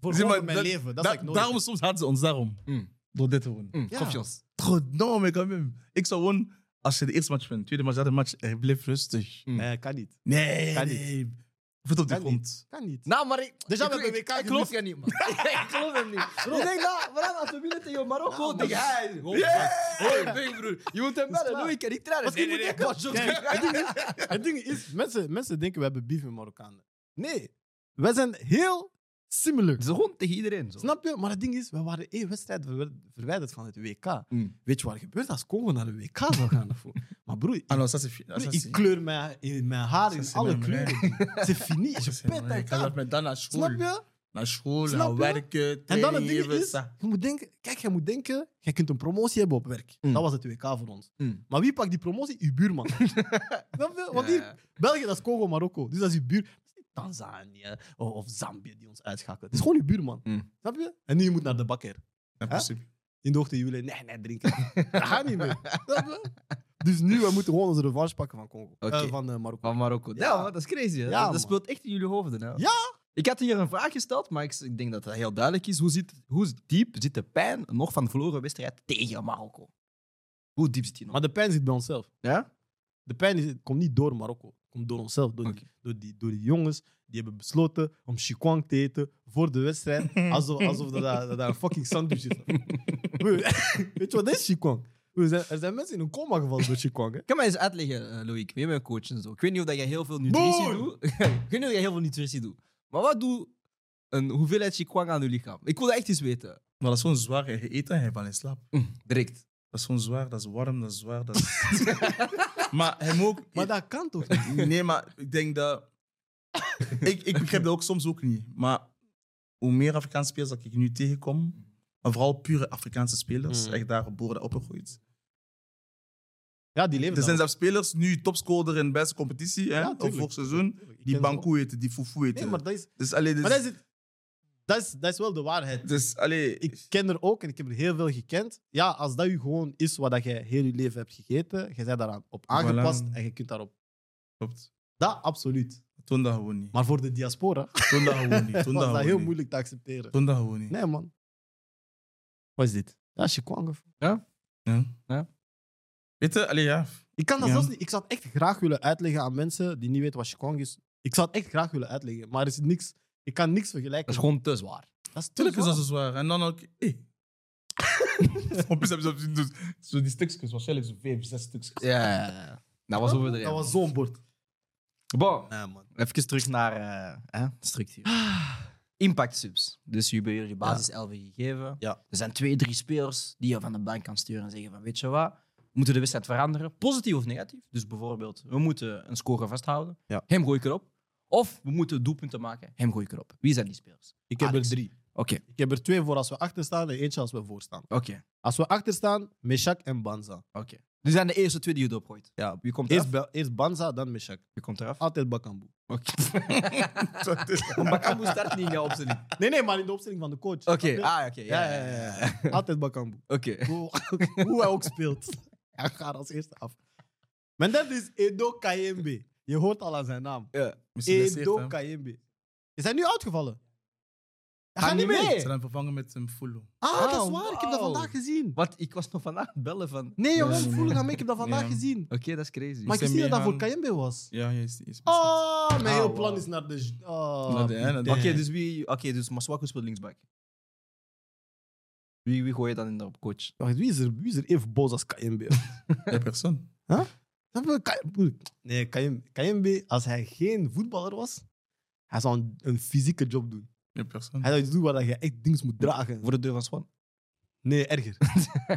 S3: Voor
S2: Zie, maar
S3: gewoon mijn
S2: dat-
S3: leven, dat,
S2: Da-
S3: is wat ik nodig
S2: daarom soms hadden ze ons daarom.
S1: Mm.
S2: Door dit te doen.
S1: Mm.
S3: Ja.
S1: Confiance.
S2: Goddomme, maar quand même. Ik zou gewoon, als je de eerste match wint, tweede match, derde match, eh, blijf rustig.
S1: Mm.
S3: heb. Nee, Eh, kan niet.
S2: Nee,
S3: Hm. Kan
S2: nee. Voet op de
S3: Kan
S2: grond.
S3: Kan niet.
S1: Nou, maar ik...
S3: Dus ja, we
S1: ik-
S3: hebben
S1: ik-
S3: WK
S1: Ik geloof
S3: gemist.
S1: je niet, man. ik geloof hem niet. Ik denk, nou, waarom als we winnen tegen Marokko,
S3: Ja,
S1: tegen
S3: man.
S1: hij... Oh,
S2: Ah,
S1: oh, nee, broer. Je moet hem bellen.
S3: klaar.
S1: Louis, ik kan niet trainen.
S3: Misschien moet ik-
S1: wat
S3: Kijk, het, ding is, het ding is, mensen, mensen denken we hebben beef met Marokkanen. Nee, wij zijn heel similar.
S1: Ze gewoon tegen iedereen, zo.
S3: Snap je? Maar het ding is, we waren één wedstrijd verwer- verwijderd van het WK.
S1: Mm.
S3: Weet je wat er gebeurt als Congo naar de WK zou gaan? Daarvoor? Maar broer, ik,
S2: Ah, non, ça c'est fini.
S3: broer, ik kleur mijn, in mijn haar in
S2: is
S3: alle
S2: helemaal
S3: kleuren. Het is fini, je pet
S2: Ik ga dat met dan naar school.
S3: Snap je?
S2: Naar school,
S3: Snap
S2: naar
S3: je?
S2: werken,
S3: En dan
S2: trainen,
S3: het ding
S2: even,
S3: is,
S2: ça.
S3: je moet denken, kijk, je moet denken, je kunt een promotie hebben op werk.
S1: Mm.
S3: Dat was het WK voor ons.
S1: Mm.
S3: Maar wie pakt die promotie? Uw buurman. Snap je? Want hier, België, dat is Congo, Marokko. Dus dat is uw buur. dat is niet Tanzanië oh, of, of Zambië die ons uitschakelen. Het is gewoon uw buurman.
S1: Mm.
S3: Snap je? En nu je moet naar de bakker.
S2: Impossible.
S3: In de ochtend jullie, nee, nee, drinken. dat gaat niet meer. Snap je? Dus nu, we moeten gewoon onze revanche pakken van Congo.
S1: Oké.
S3: Eh, van eh, Marokko.
S1: Van Marokko. Ja,
S3: Ja.
S1: man, dat is crazy. hè.
S3: Ja,
S1: dat dat
S3: man.
S1: speelt echt in jullie hoofden. Hè?
S3: Ja.
S1: Ik had hier een vraag gesteld, maar ik, ik denk dat dat heel duidelijk is. Hoe, zit, hoe diep zit de pijn nog van de verloren wedstrijd tegen Marokko? Hoe diep zit die nog?
S3: Maar de pijn zit bij onszelf.
S1: Ja?
S3: De pijn is, komt niet door Marokko. Het komt door onszelf. Door, die, door, die, door die jongens die hebben besloten om Chikwang te eten voor de wedstrijd. Alsof, alsof dat, daar- dat daar een fucking sandwich is. Broer, Weet je wat is Chikwang? Broer, Er zijn, er zijn mensen in een coma gevallen door Chikwang. Hè?
S1: Kan mij eens uitleggen, eh, Loïc, met mijn coach en zo. Ik weet niet of dat jij heel veel nutritie
S2: Boer!
S1: doet. ik weet niet of jij heel veel nutritie doet. Maar wat doet een hoeveelheid chikwang aan je lichaam? Ik wil dat echt eens weten.
S2: Maar dat is gewoon zwaar. Je eet en je valt in slaap.
S1: Direct.
S2: Dat is gewoon zwaar, dat is warm, dat is zwaar. Dat is... maar hem ook...
S3: Maar dat kan toch niet?
S2: Nee, maar ik denk dat... ik, ik begrijp dat ook soms ook niet. Maar hoe meer Afrikaanse spelers dat ik nu tegenkom, maar vooral pure Afrikaanse spelers,
S3: Mm.
S2: echt daar geboren en opgegroeid.
S3: Ja, die leven
S2: Er zijn
S3: dan.
S2: zelfs spelers, nu topscorer in de beste competitie, hè,
S3: Ja,
S2: of
S3: tuurlijk.
S2: vorig seizoen,
S3: Ik ken
S2: die
S3: ze ook.
S2: Bankou heten, die Foufou heten.
S3: Nee, maar dat is,
S2: Dus alleen... Dus,
S3: maar dat, is het- dat, is, dat is wel de waarheid.
S2: dus, allee,
S3: ik ken er ook en ik heb er heel veel gekend. Ja, als dat je gewoon is wat dat jij heel je leven hebt gegeten, je bent daaraan op aangepast
S2: Voilà.
S3: en je kunt daarop.
S2: Klopt.
S3: Dat absoluut.
S2: Toen dat gewoon niet.
S3: Maar voor de diaspora
S2: Toen dat gewoon niet. Toen
S3: was
S2: dat
S3: dat
S2: gewoon
S3: heel
S2: niet.
S3: moeilijk te accepteren.
S2: Toen dat gewoon niet.
S3: Nee, man. Wat is dit? Dat is je kwang. of-
S2: Weet je, allee, ja.
S3: Ik kan dat
S2: Ja.
S3: zelfs niet. Ik zou het echt graag willen uitleggen aan mensen die niet weten wat je kwang is. Ik zou het echt graag willen uitleggen, maar er is niks. Ik kan niks
S1: Dat is
S3: vergelijken.
S1: gewoon te zwaar.
S3: Dat is te
S2: Tuurlijk is dat
S3: zwaar.
S2: zo zwaar. En dan ook... Hey. Op plus hebben ze dus, zo die stukjes, waarschijnlijk zo vijf, zes stukjes.
S1: Ja. Dat was over de
S3: Dat was zo'n bord.
S1: Bon,
S3: Nee, man.
S1: even terug naar eh, hè, structuur. Impact subs. Dus je hebt je basis 11 gegeven.
S3: Ja.
S1: Er zijn twee, drie spelers die je van de bank kan sturen en zeggen van weet je wat, we moeten de wedstrijd veranderen, positief of negatief. Dus bijvoorbeeld, we moeten een score vasthouden,
S3: Ja.
S1: hem gooi ik erop. Of we moeten doelpunten maken, hem gooi ik erop. Wie zijn die spelers?
S3: Ik heb
S1: Alex.
S3: er drie.
S1: Oké,
S3: Ik heb er twee voor als we achter staan en eentje als we voor staan.
S1: oké,
S3: Als we achter staan, Meshak en Banza.
S1: oké. Die zijn de eerste twee die je erop gooit.
S3: Ja.
S1: Wie komt eraf?
S3: Eerst, Ba- eerst Banza, dan Meshak.
S1: Wie komt eraf?
S3: Altijd Bakambu.
S1: Oké. maar Kambu start niet in jouw opstelling.
S3: Nee, nee, maar in de opstelling van de coach.
S1: Oké,
S3: Snap je?
S1: ah, oké.
S3: Ja,
S1: ja,
S3: ja, ja, ja. Altijd Bakambu.
S1: Oké.
S3: Hoe, hoe hij ook speelt. Hij gaat als eerste af. Mijn derde is Edo Kayembe. Je hoort al aan zijn naam.
S1: Ja.
S3: Edo Kayembe. Is hij nu uitgevallen? Hij
S1: Gaat
S3: gaat niet
S1: niet
S3: mee.
S1: mee.
S2: Ze zijn vervangen met een Fulo.
S3: Ah, dat is
S1: Ah,
S3: waar. Ik heb dat
S1: wauw.
S3: vandaag gezien.
S1: Wat, ik was nog vandaag aan het bellen van... Oké,
S3: Nee, jongen,
S2: Ja.
S3: voel ik aan mee. Ik heb dat vandaag
S2: Ja.
S3: gezien.
S1: dat is crazy.
S3: Maar ik
S2: zijn
S3: wist niet dat dat voor
S2: meegaan.
S3: Kayembe was.
S2: Ja, yes, yes.
S3: Oh, mijn
S1: Ah,
S3: heel
S1: wauw.
S3: plan is naar de. Oh,
S1: eh,
S2: Naar de- hè, naar de-
S1: Oké,
S3: Oké,
S1: dus wie... Oké, dus Maswaku speelt linksback. Wie, wie gooi je dan in de coach?
S3: Wacht, wie is er, wie is er even boos als KMB?
S2: De persoon.
S3: Dat wil Kay- broer, Nee, Kayem- Kayembe, als hij geen voetballer was, hij zou een, een fysieke job doen.
S2: De persoon.
S3: Hij zou iets doen waar je echt dingen moet dragen.
S1: Voor de deur van Swan.
S3: Nee, erger.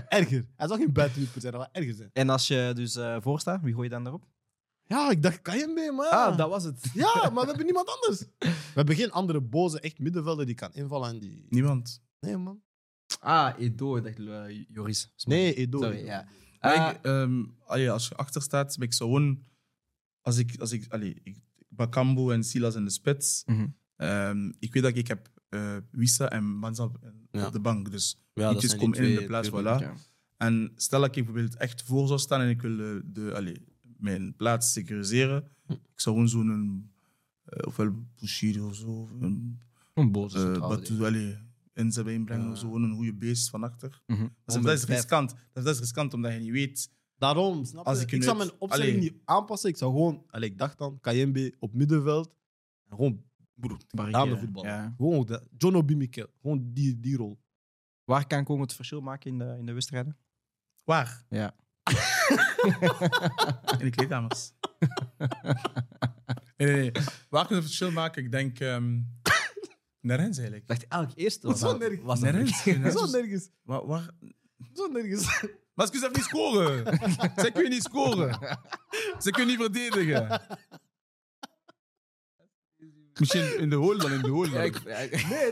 S3: erger. Hij zou geen buitenwielper zijn, hij zou erger zijn.
S1: En als je dus eh voorstaat, wie gooi je dan erop?
S3: Ja, ik dacht Kayembe, maar...
S1: was het.
S3: Ja, maar we hebben niemand anders. We hebben geen andere boze echt middenvelder die kan invallen en die...
S2: Niemand.
S3: Nee, man.
S1: Ah, Edo, ik dacht eh, Joris.
S3: Nee, Edo.
S1: Sorry, ja.
S2: Maar
S1: Eh,
S2: ik, ehm, allee, als je achter staat, ben ik zo gewoon... Als ik... Als ik, allee, ik Bakambu en Silas in de spits.
S1: Mhm.
S2: Ehm, ik weet dat ik heb eh, Wissa en Manza
S3: Ja.
S2: op de bank. Dus
S3: Ja,
S2: Eentjes
S3: zijn die
S2: komen in
S3: twee
S2: de plaats,
S3: natuurlijk.
S2: voilà.
S1: ja.
S2: En stel dat ik bijvoorbeeld echt voor zou staan en ik wil eh, de, allee, mijn plaats securiseren, ik zou gewoon zo'n, eh, ofwel Bushiri of zo, of een,
S1: Een boze
S2: eh,
S1: centrale
S2: wat, allee, inzet inbrengen
S3: Ja.
S2: of zo, gewoon een goede beest van achter.
S1: Mhm.
S2: Dat is, dat is riskant. Dat is, dat is riskant omdat je niet weet.
S3: Daarom, snap
S2: Als
S3: je?
S2: ik
S3: Ik,
S2: nu
S3: zou
S2: het-
S3: mijn opstelling
S2: Allee.
S3: niet aanpassen. Ik zou gewoon... Allee, ik dacht dan, Kayembe op middenveld. En gewoon... Broer,
S1: barricade.
S3: damevoetbal.
S1: Ja.
S3: Gewoon de, John Obi Mikel. Gewoon die, die rol.
S1: Waar kan Congo het verschil maken in de, in de wedstrijden?
S2: Waar?
S1: Ja.
S2: In de kleedkamers. nee, nee, nee. Waar kunnen we het verschil maken? Ik denk... ehm nergens eigenlijk.
S1: dacht eigenlijk eerst
S3: was Hoezo dat- nergens? was
S2: dat- Ja,
S3: Zo
S2: dus-
S3: nergens.
S2: Waar, waar?
S3: Zo nergens.
S2: Maar ze kunnen zelf niet scoren. Ze kunnen niet scoren. Ze kunnen niet verdedigen. Misschien in de hole dan, in de hole dan.
S3: Nee,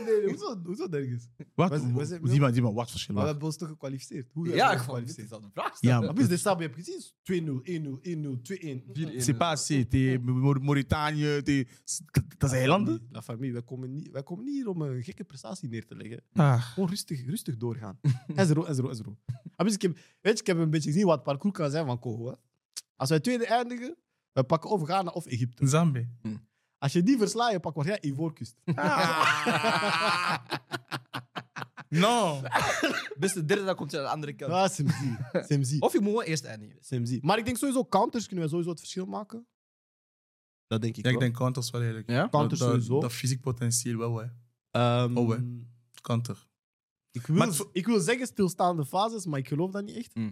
S3: nee, nee. Hoezo, hoezo nergens?
S2: Wat?
S3: Waar zijn- waar zijn-
S2: Die man, die man, wat verschil.
S3: Maar we
S2: wat?
S3: hebben ons toch gekwalificeerd? Hoe hebben we
S1: Ja,
S3: ons
S1: gewoon. Dit
S3: gekwalificeerd?
S1: is al de vraag.
S2: Ja,
S3: Maar
S2: maar
S3: bis de stap, je hebt gezien. 2-0, 1-0, 1-0, 2-1.
S2: c'est pas assez. T'es Maur- Mauritanië, t'es- dat zijn eilanden.
S3: Ah, La familie, wij komen, niet, wij komen niet hier om een gekke prestatie neer te leggen.
S2: Ah.
S3: Gewoon rustig, rustig doorgaan. Ezro, Ezro, Ezro. Maar dus ik heb, weet je, ik heb een beetje gezien wat het parcours kan zijn van Congo. hè. Als wij tweede eindigen, we pakken of Ghana of Egypte.
S2: Zambie.
S3: Als je die verslaat, je pakt waarschijnlijk Ivoorkust.
S2: No.
S1: Beste derde, dan komt je aan de andere kant.
S3: Ah, Semzi. Semzi.
S1: Of je moet wel eerst eindigen.
S3: Semzi. Maar ik denk sowieso, counters kunnen we sowieso het verschil maken. Dat denk ik
S2: Ja, ik
S3: wel.
S2: denk counters wel eigenlijk.
S1: Ja?
S3: Counters
S2: dat, dat-
S3: sowieso.
S2: Dat fysiek potentieel wel, hè.
S3: Ehm,
S2: Oh, hè. Counter.
S3: ik, wil,
S2: Maar het-
S3: ik wil zeggen stilstaande fases, maar ik geloof dat niet echt.
S1: Mm.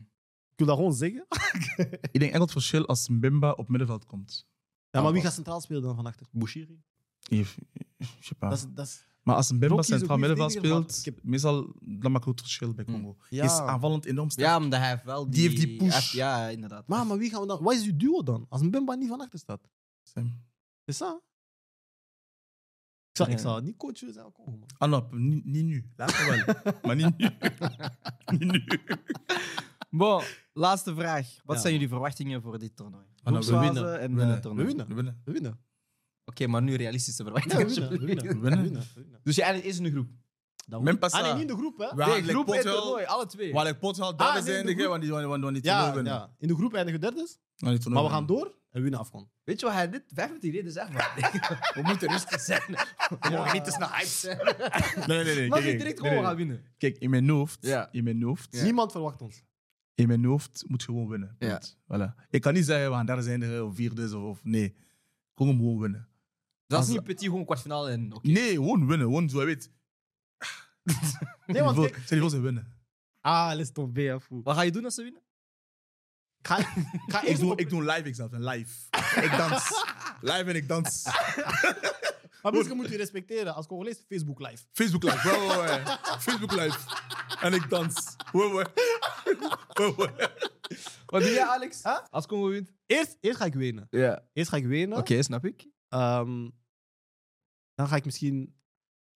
S3: Ik wil dat gewoon zeggen.
S2: Ik denk echt dat verschil als Mbimba op middenveld komt.
S3: Ja, maar wie
S1: wat-
S3: gaat centraal spelen dan van achter? Bouchiri.
S2: Je- je- je-
S3: Dat is, dat is,
S2: Maar als een Bimba
S3: Rocky is een
S2: centraal
S3: goede
S2: middenveld
S3: verdediger, maar
S2: speelt,
S3: ik heb-
S2: meestal dan maakt het verschil bij Congo.
S3: ja.
S2: Hij is aanvallend enorm sterk.
S1: Ja, omdat hij heeft wel die...
S2: Die heeft die push.
S1: hij heeft- ja, inderdaad.
S3: Maar, maar wie gaan we dan... Wat is uw duo dan? Als een Bemba niet van achter staat.
S2: Sam.
S3: Is dat? Ik zou, ik
S1: Ja.
S3: zou niet coach willen zijn. Kom, oh, man.
S2: Ah, nou, niet, niet nu. Later wel. maar niet nu. niet nu.
S1: Bon, laatste vraag. Wat
S3: Ja.
S1: zijn jullie verwachtingen voor dit toernooi?
S2: nou, we
S1: Groepsfase
S3: winnen.
S1: En
S2: Winnen.
S1: eh, toernooi.
S3: We winnen.
S2: We winnen.
S3: We winnen.
S1: Oké, maar nu realistische
S3: Ja,
S1: verwachtingen.
S3: we winnen. We
S2: We
S3: winnen.
S2: winnen. eh,
S3: We winnen.
S1: Dus je eindigt eerst in de groep.
S3: Dat
S2: Même
S3: wordt-
S2: pas
S3: Ah,
S2: ça.
S3: nee, niet in de groep, hè?
S2: We
S1: nee, groep en toernooi, alle twee.
S2: Waar ik pot wel
S3: Ah,
S2: derde
S3: nee,
S2: zijn,
S3: de
S2: want die want die- want die toernooi
S3: Ja,
S2: winnen.
S3: ja, in de groep eindigen we derdes.
S2: Want die toernooi
S3: Maar we gaan
S2: winnen.
S3: door en we winnen afgaan.
S1: Weet je wat hij dit 25 reden zegt? Maar we moeten rustig zijn. We mogen niet te snel hype zijn.
S2: Nee, nee, nee.
S1: Mag
S2: kijk,
S1: je
S2: kijk,
S1: direct
S2: nee,
S1: gewoon gaan
S2: nee.
S1: winnen?
S2: Kijk, in mijn hoofd,
S1: Ja.
S2: in mijn hoofd,
S1: Ja.
S3: Niemand verwacht ons.
S2: in mijn hoofd moet je gewoon winnen.
S1: Ja.
S2: Punt. Voilà. Ik kan niet zeggen, we gaan derde zijn eh, of vierde of, of nee. Congo moet gewoon winnen.
S1: Dat is
S2: Als-
S1: niet petit, gewoon kwartfinale en... oké.
S2: Nee, gewoon winnen. Gewoon zo, je weet.
S3: Nee, want
S2: Stel je
S3: kijk-
S2: voor- stel je voor ze winnen.
S3: Ah, les tomber, foe.
S1: Wat ga je doen als ze winnen?
S3: Ik ga, ik ga
S2: Ik
S3: eerst
S2: doe,
S3: Ah, op-
S2: ik doe live exams en live. Ik dans. Live en ik dans.
S3: Maar mensen moeten je respecteren. Als Congolees, Facebook live.
S2: Facebook live. Wow, wow, wow. Facebook live. En ik dans. Wow, wow. Wow, wow.
S1: Wat doe jij, Alex?
S3: Huh?
S1: Als Congo wint?
S3: Eerst, eerst ga ik wenen.
S1: Ja.
S3: Eerst ga ik wenen.
S1: Oké, snap ik.
S3: Ehm, dan ga ik misschien.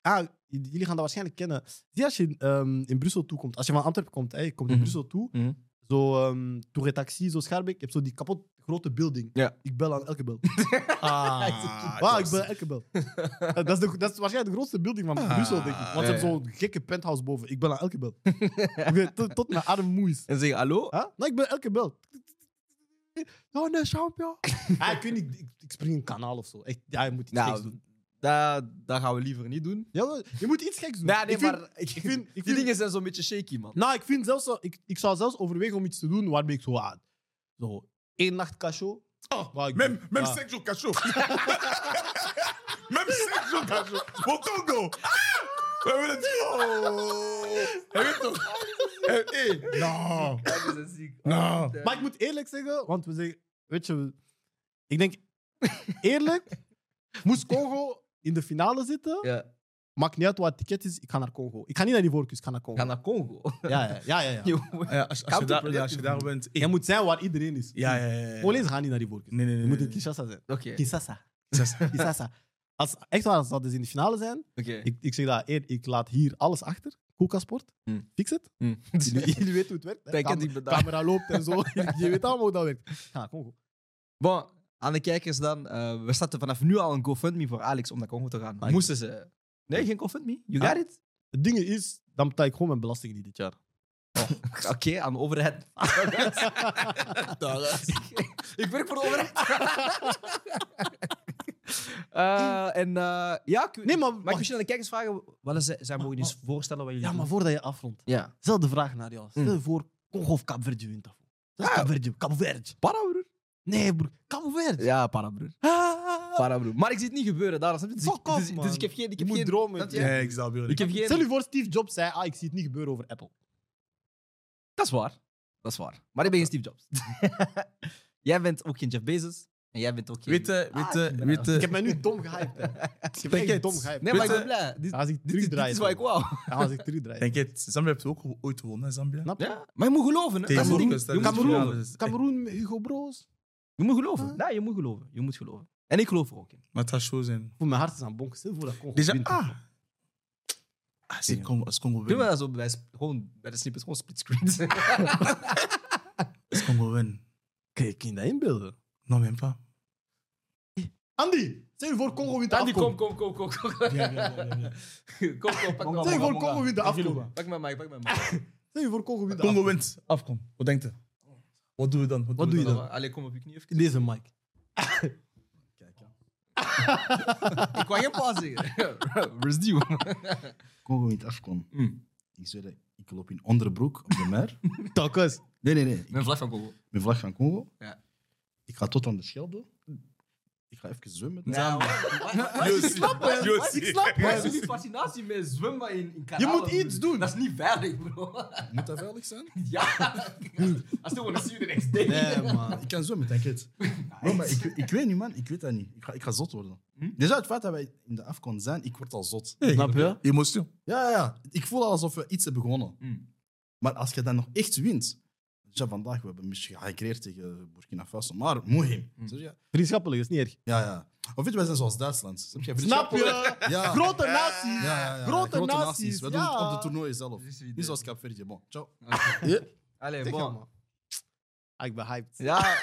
S3: Ah, j- jullie gaan dat waarschijnlijk kennen. Zie je als je ehm, in Brussel toekomt, als je van Antwerpen komt, hè, je komt in
S1: Mhm.
S3: Brussel toe,
S1: Mhm.
S3: zo ehm Touré Taxi, zo Schaarbeek, je hebt zo die kapot grote building.
S1: Ja.
S3: Ik bel aan elke bel.
S2: Ah,
S3: ah, ik bel aan elke bel. dat, is de, dat is waarschijnlijk de grootste building van
S2: Ah,
S3: Brussel, denk ik. Want ze
S1: ja,
S3: hebben zo'n gekke penthouse boven. Ik bel aan elke bel. Ik weet, tot, tot mijn arm moe is.
S1: En zeg hallo?
S3: Huh? Nou, ik ben elke bel. Oh, nee, champion. ah, ik weet niet, ik, ik spring een kanaal of zo. Echt, ja, je moet iets geks doen.
S1: Nou, dat, dat gaan we liever niet doen.
S3: Ja, maar je moet iets geks doen.
S1: Nee, nee,
S3: ik vind,
S1: maar ik,
S3: ik vind- ik
S1: die
S3: vind-
S1: dingen zijn zo'n beetje shaky, man.
S3: Nou, ik, vind zelfs, zo- ik, ik zou zelfs overwegen om iets te doen waarbij ik zo... Ah, zo één nacht cachot.
S2: Oh,
S3: Waar ik-
S2: Même, même
S3: Ah.
S2: 5 jours cachot. même 5 jours cachot. Au Congo. Ah We hebben het. Oh. Heb je toch? Hé, nou.
S1: Dat is ziek.
S2: Nou.
S3: Maar ik moet eerlijk zeggen, want we zeggen, weet je, we- ik denk eerlijk, moest Congo in de finale zitten,
S1: Ja.
S3: maakt niet uit wat het ticket is, ik ga naar Congo. Ik ga niet naar die voorkeur, ik ga naar Congo.
S1: Ga naar Congo.
S3: Ja, ja, ja. ja, ja.
S2: Ja, als, als, je daar, ja, als je daar
S1: Counterproductive.
S2: bent.
S3: Je moet zijn waar iedereen is.
S2: Ja, ja, ja. ja.
S3: Polens gaan niet naar die voorkeur.
S2: Nee, nee, nee.
S3: Je moet
S2: nee,
S3: in Kinshasa zijn.
S1: Oké. Oké.
S3: Kinshasa. Kinshasa. Als, echt waar, als dat dus in de finale zijn, ik, ik zeg dat eer, ik laat hier alles achter. Koelkastsport,
S1: Hm.
S3: fix het.
S1: Hm.
S3: Jullie, jullie weten hoe het werkt. hè.
S1: Kijk,
S3: Cam-
S1: die bedacht.
S3: camera loopt en zo. Je weet allemaal hoe dat werkt. Ik ga naar Congo.
S1: Bon, aan de kijkers dan. eh, we zetten vanaf nu al een GoFundMe voor Alex om naar Congo te gaan.
S3: Maar ik-
S1: Moesten ze... Nee, geen GoFundMe? You
S3: Ah.
S1: got it?
S3: Het ding is, dan betaal ik gewoon mijn belasting niet dit jaar.
S1: Oké, aan de overheid. ik werk voor de overheid. Eh, en eh, ja, ik-
S3: Nee, maar,
S1: mag ik misschien aan de kijkers vragen? Wat is, zij mogen eens voorstellen wat jullie
S3: ja, maar
S1: doen?
S3: voordat je afrondt.
S1: Ja.
S3: Zelfde vraag naar jou. Stel
S1: Mm.
S3: je voor Congo of Cap Verde wint daarvoor. Dat is Cap Verde. Cap Verde.
S1: Para, broer.
S3: Nee, broer. Cap Verde.
S1: Ja, para, broer.
S3: Ah.
S1: Para, broer. Maar ik zie het niet gebeuren. Daar, snap je? dus, ik-
S3: Fuck off,
S1: dus, dus
S3: man.
S1: ik heb geen... Ik
S3: Je
S1: heb
S3: moet
S1: geen,
S3: dromen.
S1: snap je?
S2: Nee, ik zou
S1: Ik heb geen...
S3: Stel je voor Steve Jobs zei, ah, ik zie het niet gebeuren over Apple.
S1: Dat is waar. Dat is waar. Maar ik ben geen Steve Jobs. jij bent ook geen Jeff Bezos. En jij bent ook geen...
S2: Witte, witte,
S1: Ah,
S2: witte.
S3: Ik heb mij nu dom gehyped. hè. Ik heb mij echt
S2: Tickets.
S3: dom gehyped.
S1: Nee, maar ik
S2: Witte-
S1: ben blij. Dit,
S3: Als ik
S1: dit, dit
S3: terugdraai.
S1: is wat ik wou.
S3: Als ik terugdraai.
S2: Denk je het? Zambia heeft ook ooit gewonnen, hè, Zambia?
S3: Snap je?
S1: Ja, maar je moet geloven. Hè? Dat is het ding.
S2: Marokko is dat
S1: Je moet
S2: dus
S1: geloven.
S2: finale. dat is-
S3: Cameroen, Hugo Broos.
S1: Je moet geloven. Ja, je moet geloven. Je moet geloven. En ik geloof er ook in.
S2: Maar het gaat show zijn.
S3: Voor mijn hart is aan het bonken. Stel je voor dat Congo
S2: Déjà,
S3: wint.
S2: ah. Ah, zie, Congo- als Congo
S1: Doe maar
S2: wint.
S1: dat zo bij, sp- gewoon, bij de snippets, gewoon splitscreens.
S2: Als Congo wint.
S3: Kan je je dat inbeelden?
S2: Non, même pas.
S3: Andy, stel je voor Congo wint de
S1: Andy, kom,
S3: afkomst.
S1: kom, kom, kom, kom. Kom, kom, pak me
S3: Stel je
S1: mic.
S3: voor Congo wint de afkomst.
S1: Pak me mic, pak me mic.
S3: Stel je voor Congo wint de
S2: Congo
S3: afkomst.
S2: wint. Afkom. Wat denkt je? Wat doen we dan?
S3: Wat
S2: doen
S3: doe
S2: we
S3: je dan?
S1: Allee, kom op je knie even.
S3: Deze mic.
S1: Ik kwam geen paas zeggen. Where's die,
S4: Congo wint afkom.
S1: Mm.
S4: Ik zweer dat ik loop in onderbroek op de mer.
S3: Telkens.
S4: Nee, nee, nee. Ik-
S1: Mijn vlag van Congo.
S4: Mijn vlag van Congo.
S1: Ja.
S4: Ik ga tot aan de Schelde. Ik ga even zwemmen.
S1: Nou,
S2: Jossi.
S1: ik snap het. Wat
S2: Jossi.
S1: Ik snap het.
S2: Jossi.
S1: Wat is die fascinatie met zwemmen in, in kanalen?
S3: moet iets
S1: broer?
S3: doen.
S1: Dat is niet veilig, bro.
S4: Moet dat veilig zijn?
S1: Ja. I still want to see you the next day.
S3: Nee, man.
S4: Ik kan zwemmen, denk het. Bro, maar ik, ik weet niet, man. Ik weet dat niet. Ik ga, ik ga zot worden.
S1: Hm?
S4: Dus uit het feit dat wij in de afkon zijn, ik word al zot.
S3: Snap je?
S2: Emotion.
S4: Ja, ja, ja. Ik voel al alsof we iets hebben gewonnen.
S1: Hm.
S4: Maar als je dan nog echt wint... Dus ja, vandaag we hebben we misschien gehackeerd tegen Burkina Faso, maar moeim.
S1: Hm.
S4: Zeg je?
S3: Vriendschappelijk is niet erg.
S4: Ja, ja. Of weet je, wij zijn zoals Duitsland. Snap je?
S3: Snap je?
S4: Ja.
S3: Grote naties.
S4: Ja, ja, ja.
S3: Grote, naties. ja.
S4: We doen het op de toernooi zelf.
S1: Dus wie
S4: Niet
S1: deed.
S4: zoals Capverdje. Bon, ciao.
S1: Oké.
S4: Ja.
S1: Allee,
S3: Zeg het,
S1: bon.
S3: man. Ah, ik ben hyped.
S1: Ja,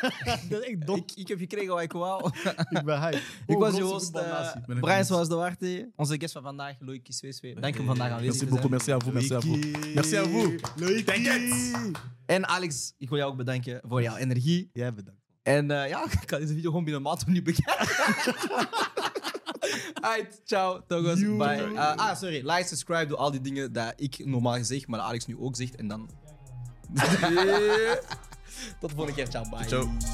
S3: Dat is echt dom.
S1: ik, ik heb gekregen wat ik wou.
S3: Ik ben hyped.
S1: Ik
S3: Oh,
S1: was je
S3: grootste
S1: host,
S3: voetbalnatie.
S1: eh,
S2: ben ik
S1: Brian
S2: niet.
S1: Soares de Warte. Onze guest van vandaag, Loïc Kisweeswe. Dank je om vandaag aanwezig
S2: Merci
S1: te
S2: beaucoup,
S1: zijn.
S2: merci à vous, merci à vous.
S3: Loïkie.
S2: Merci à vous.
S3: Loïkie.
S2: Tickets.
S1: En Alex, ik wil jou ook bedanken voor jouw energie.
S3: Jij bedankt.
S1: En eh, ja, ik kan deze video gewoon binnen een maand opnieuw bekijken. Alright, ciao, togos, bye.
S3: Yo.
S1: Eh, ah, sorry, like, subscribe, doe al die dingen dat ik normaal gezegd, maar dat Alex nu ook zegt. En dan... Tot de volgende keer, ciao, bye.
S2: Ciao.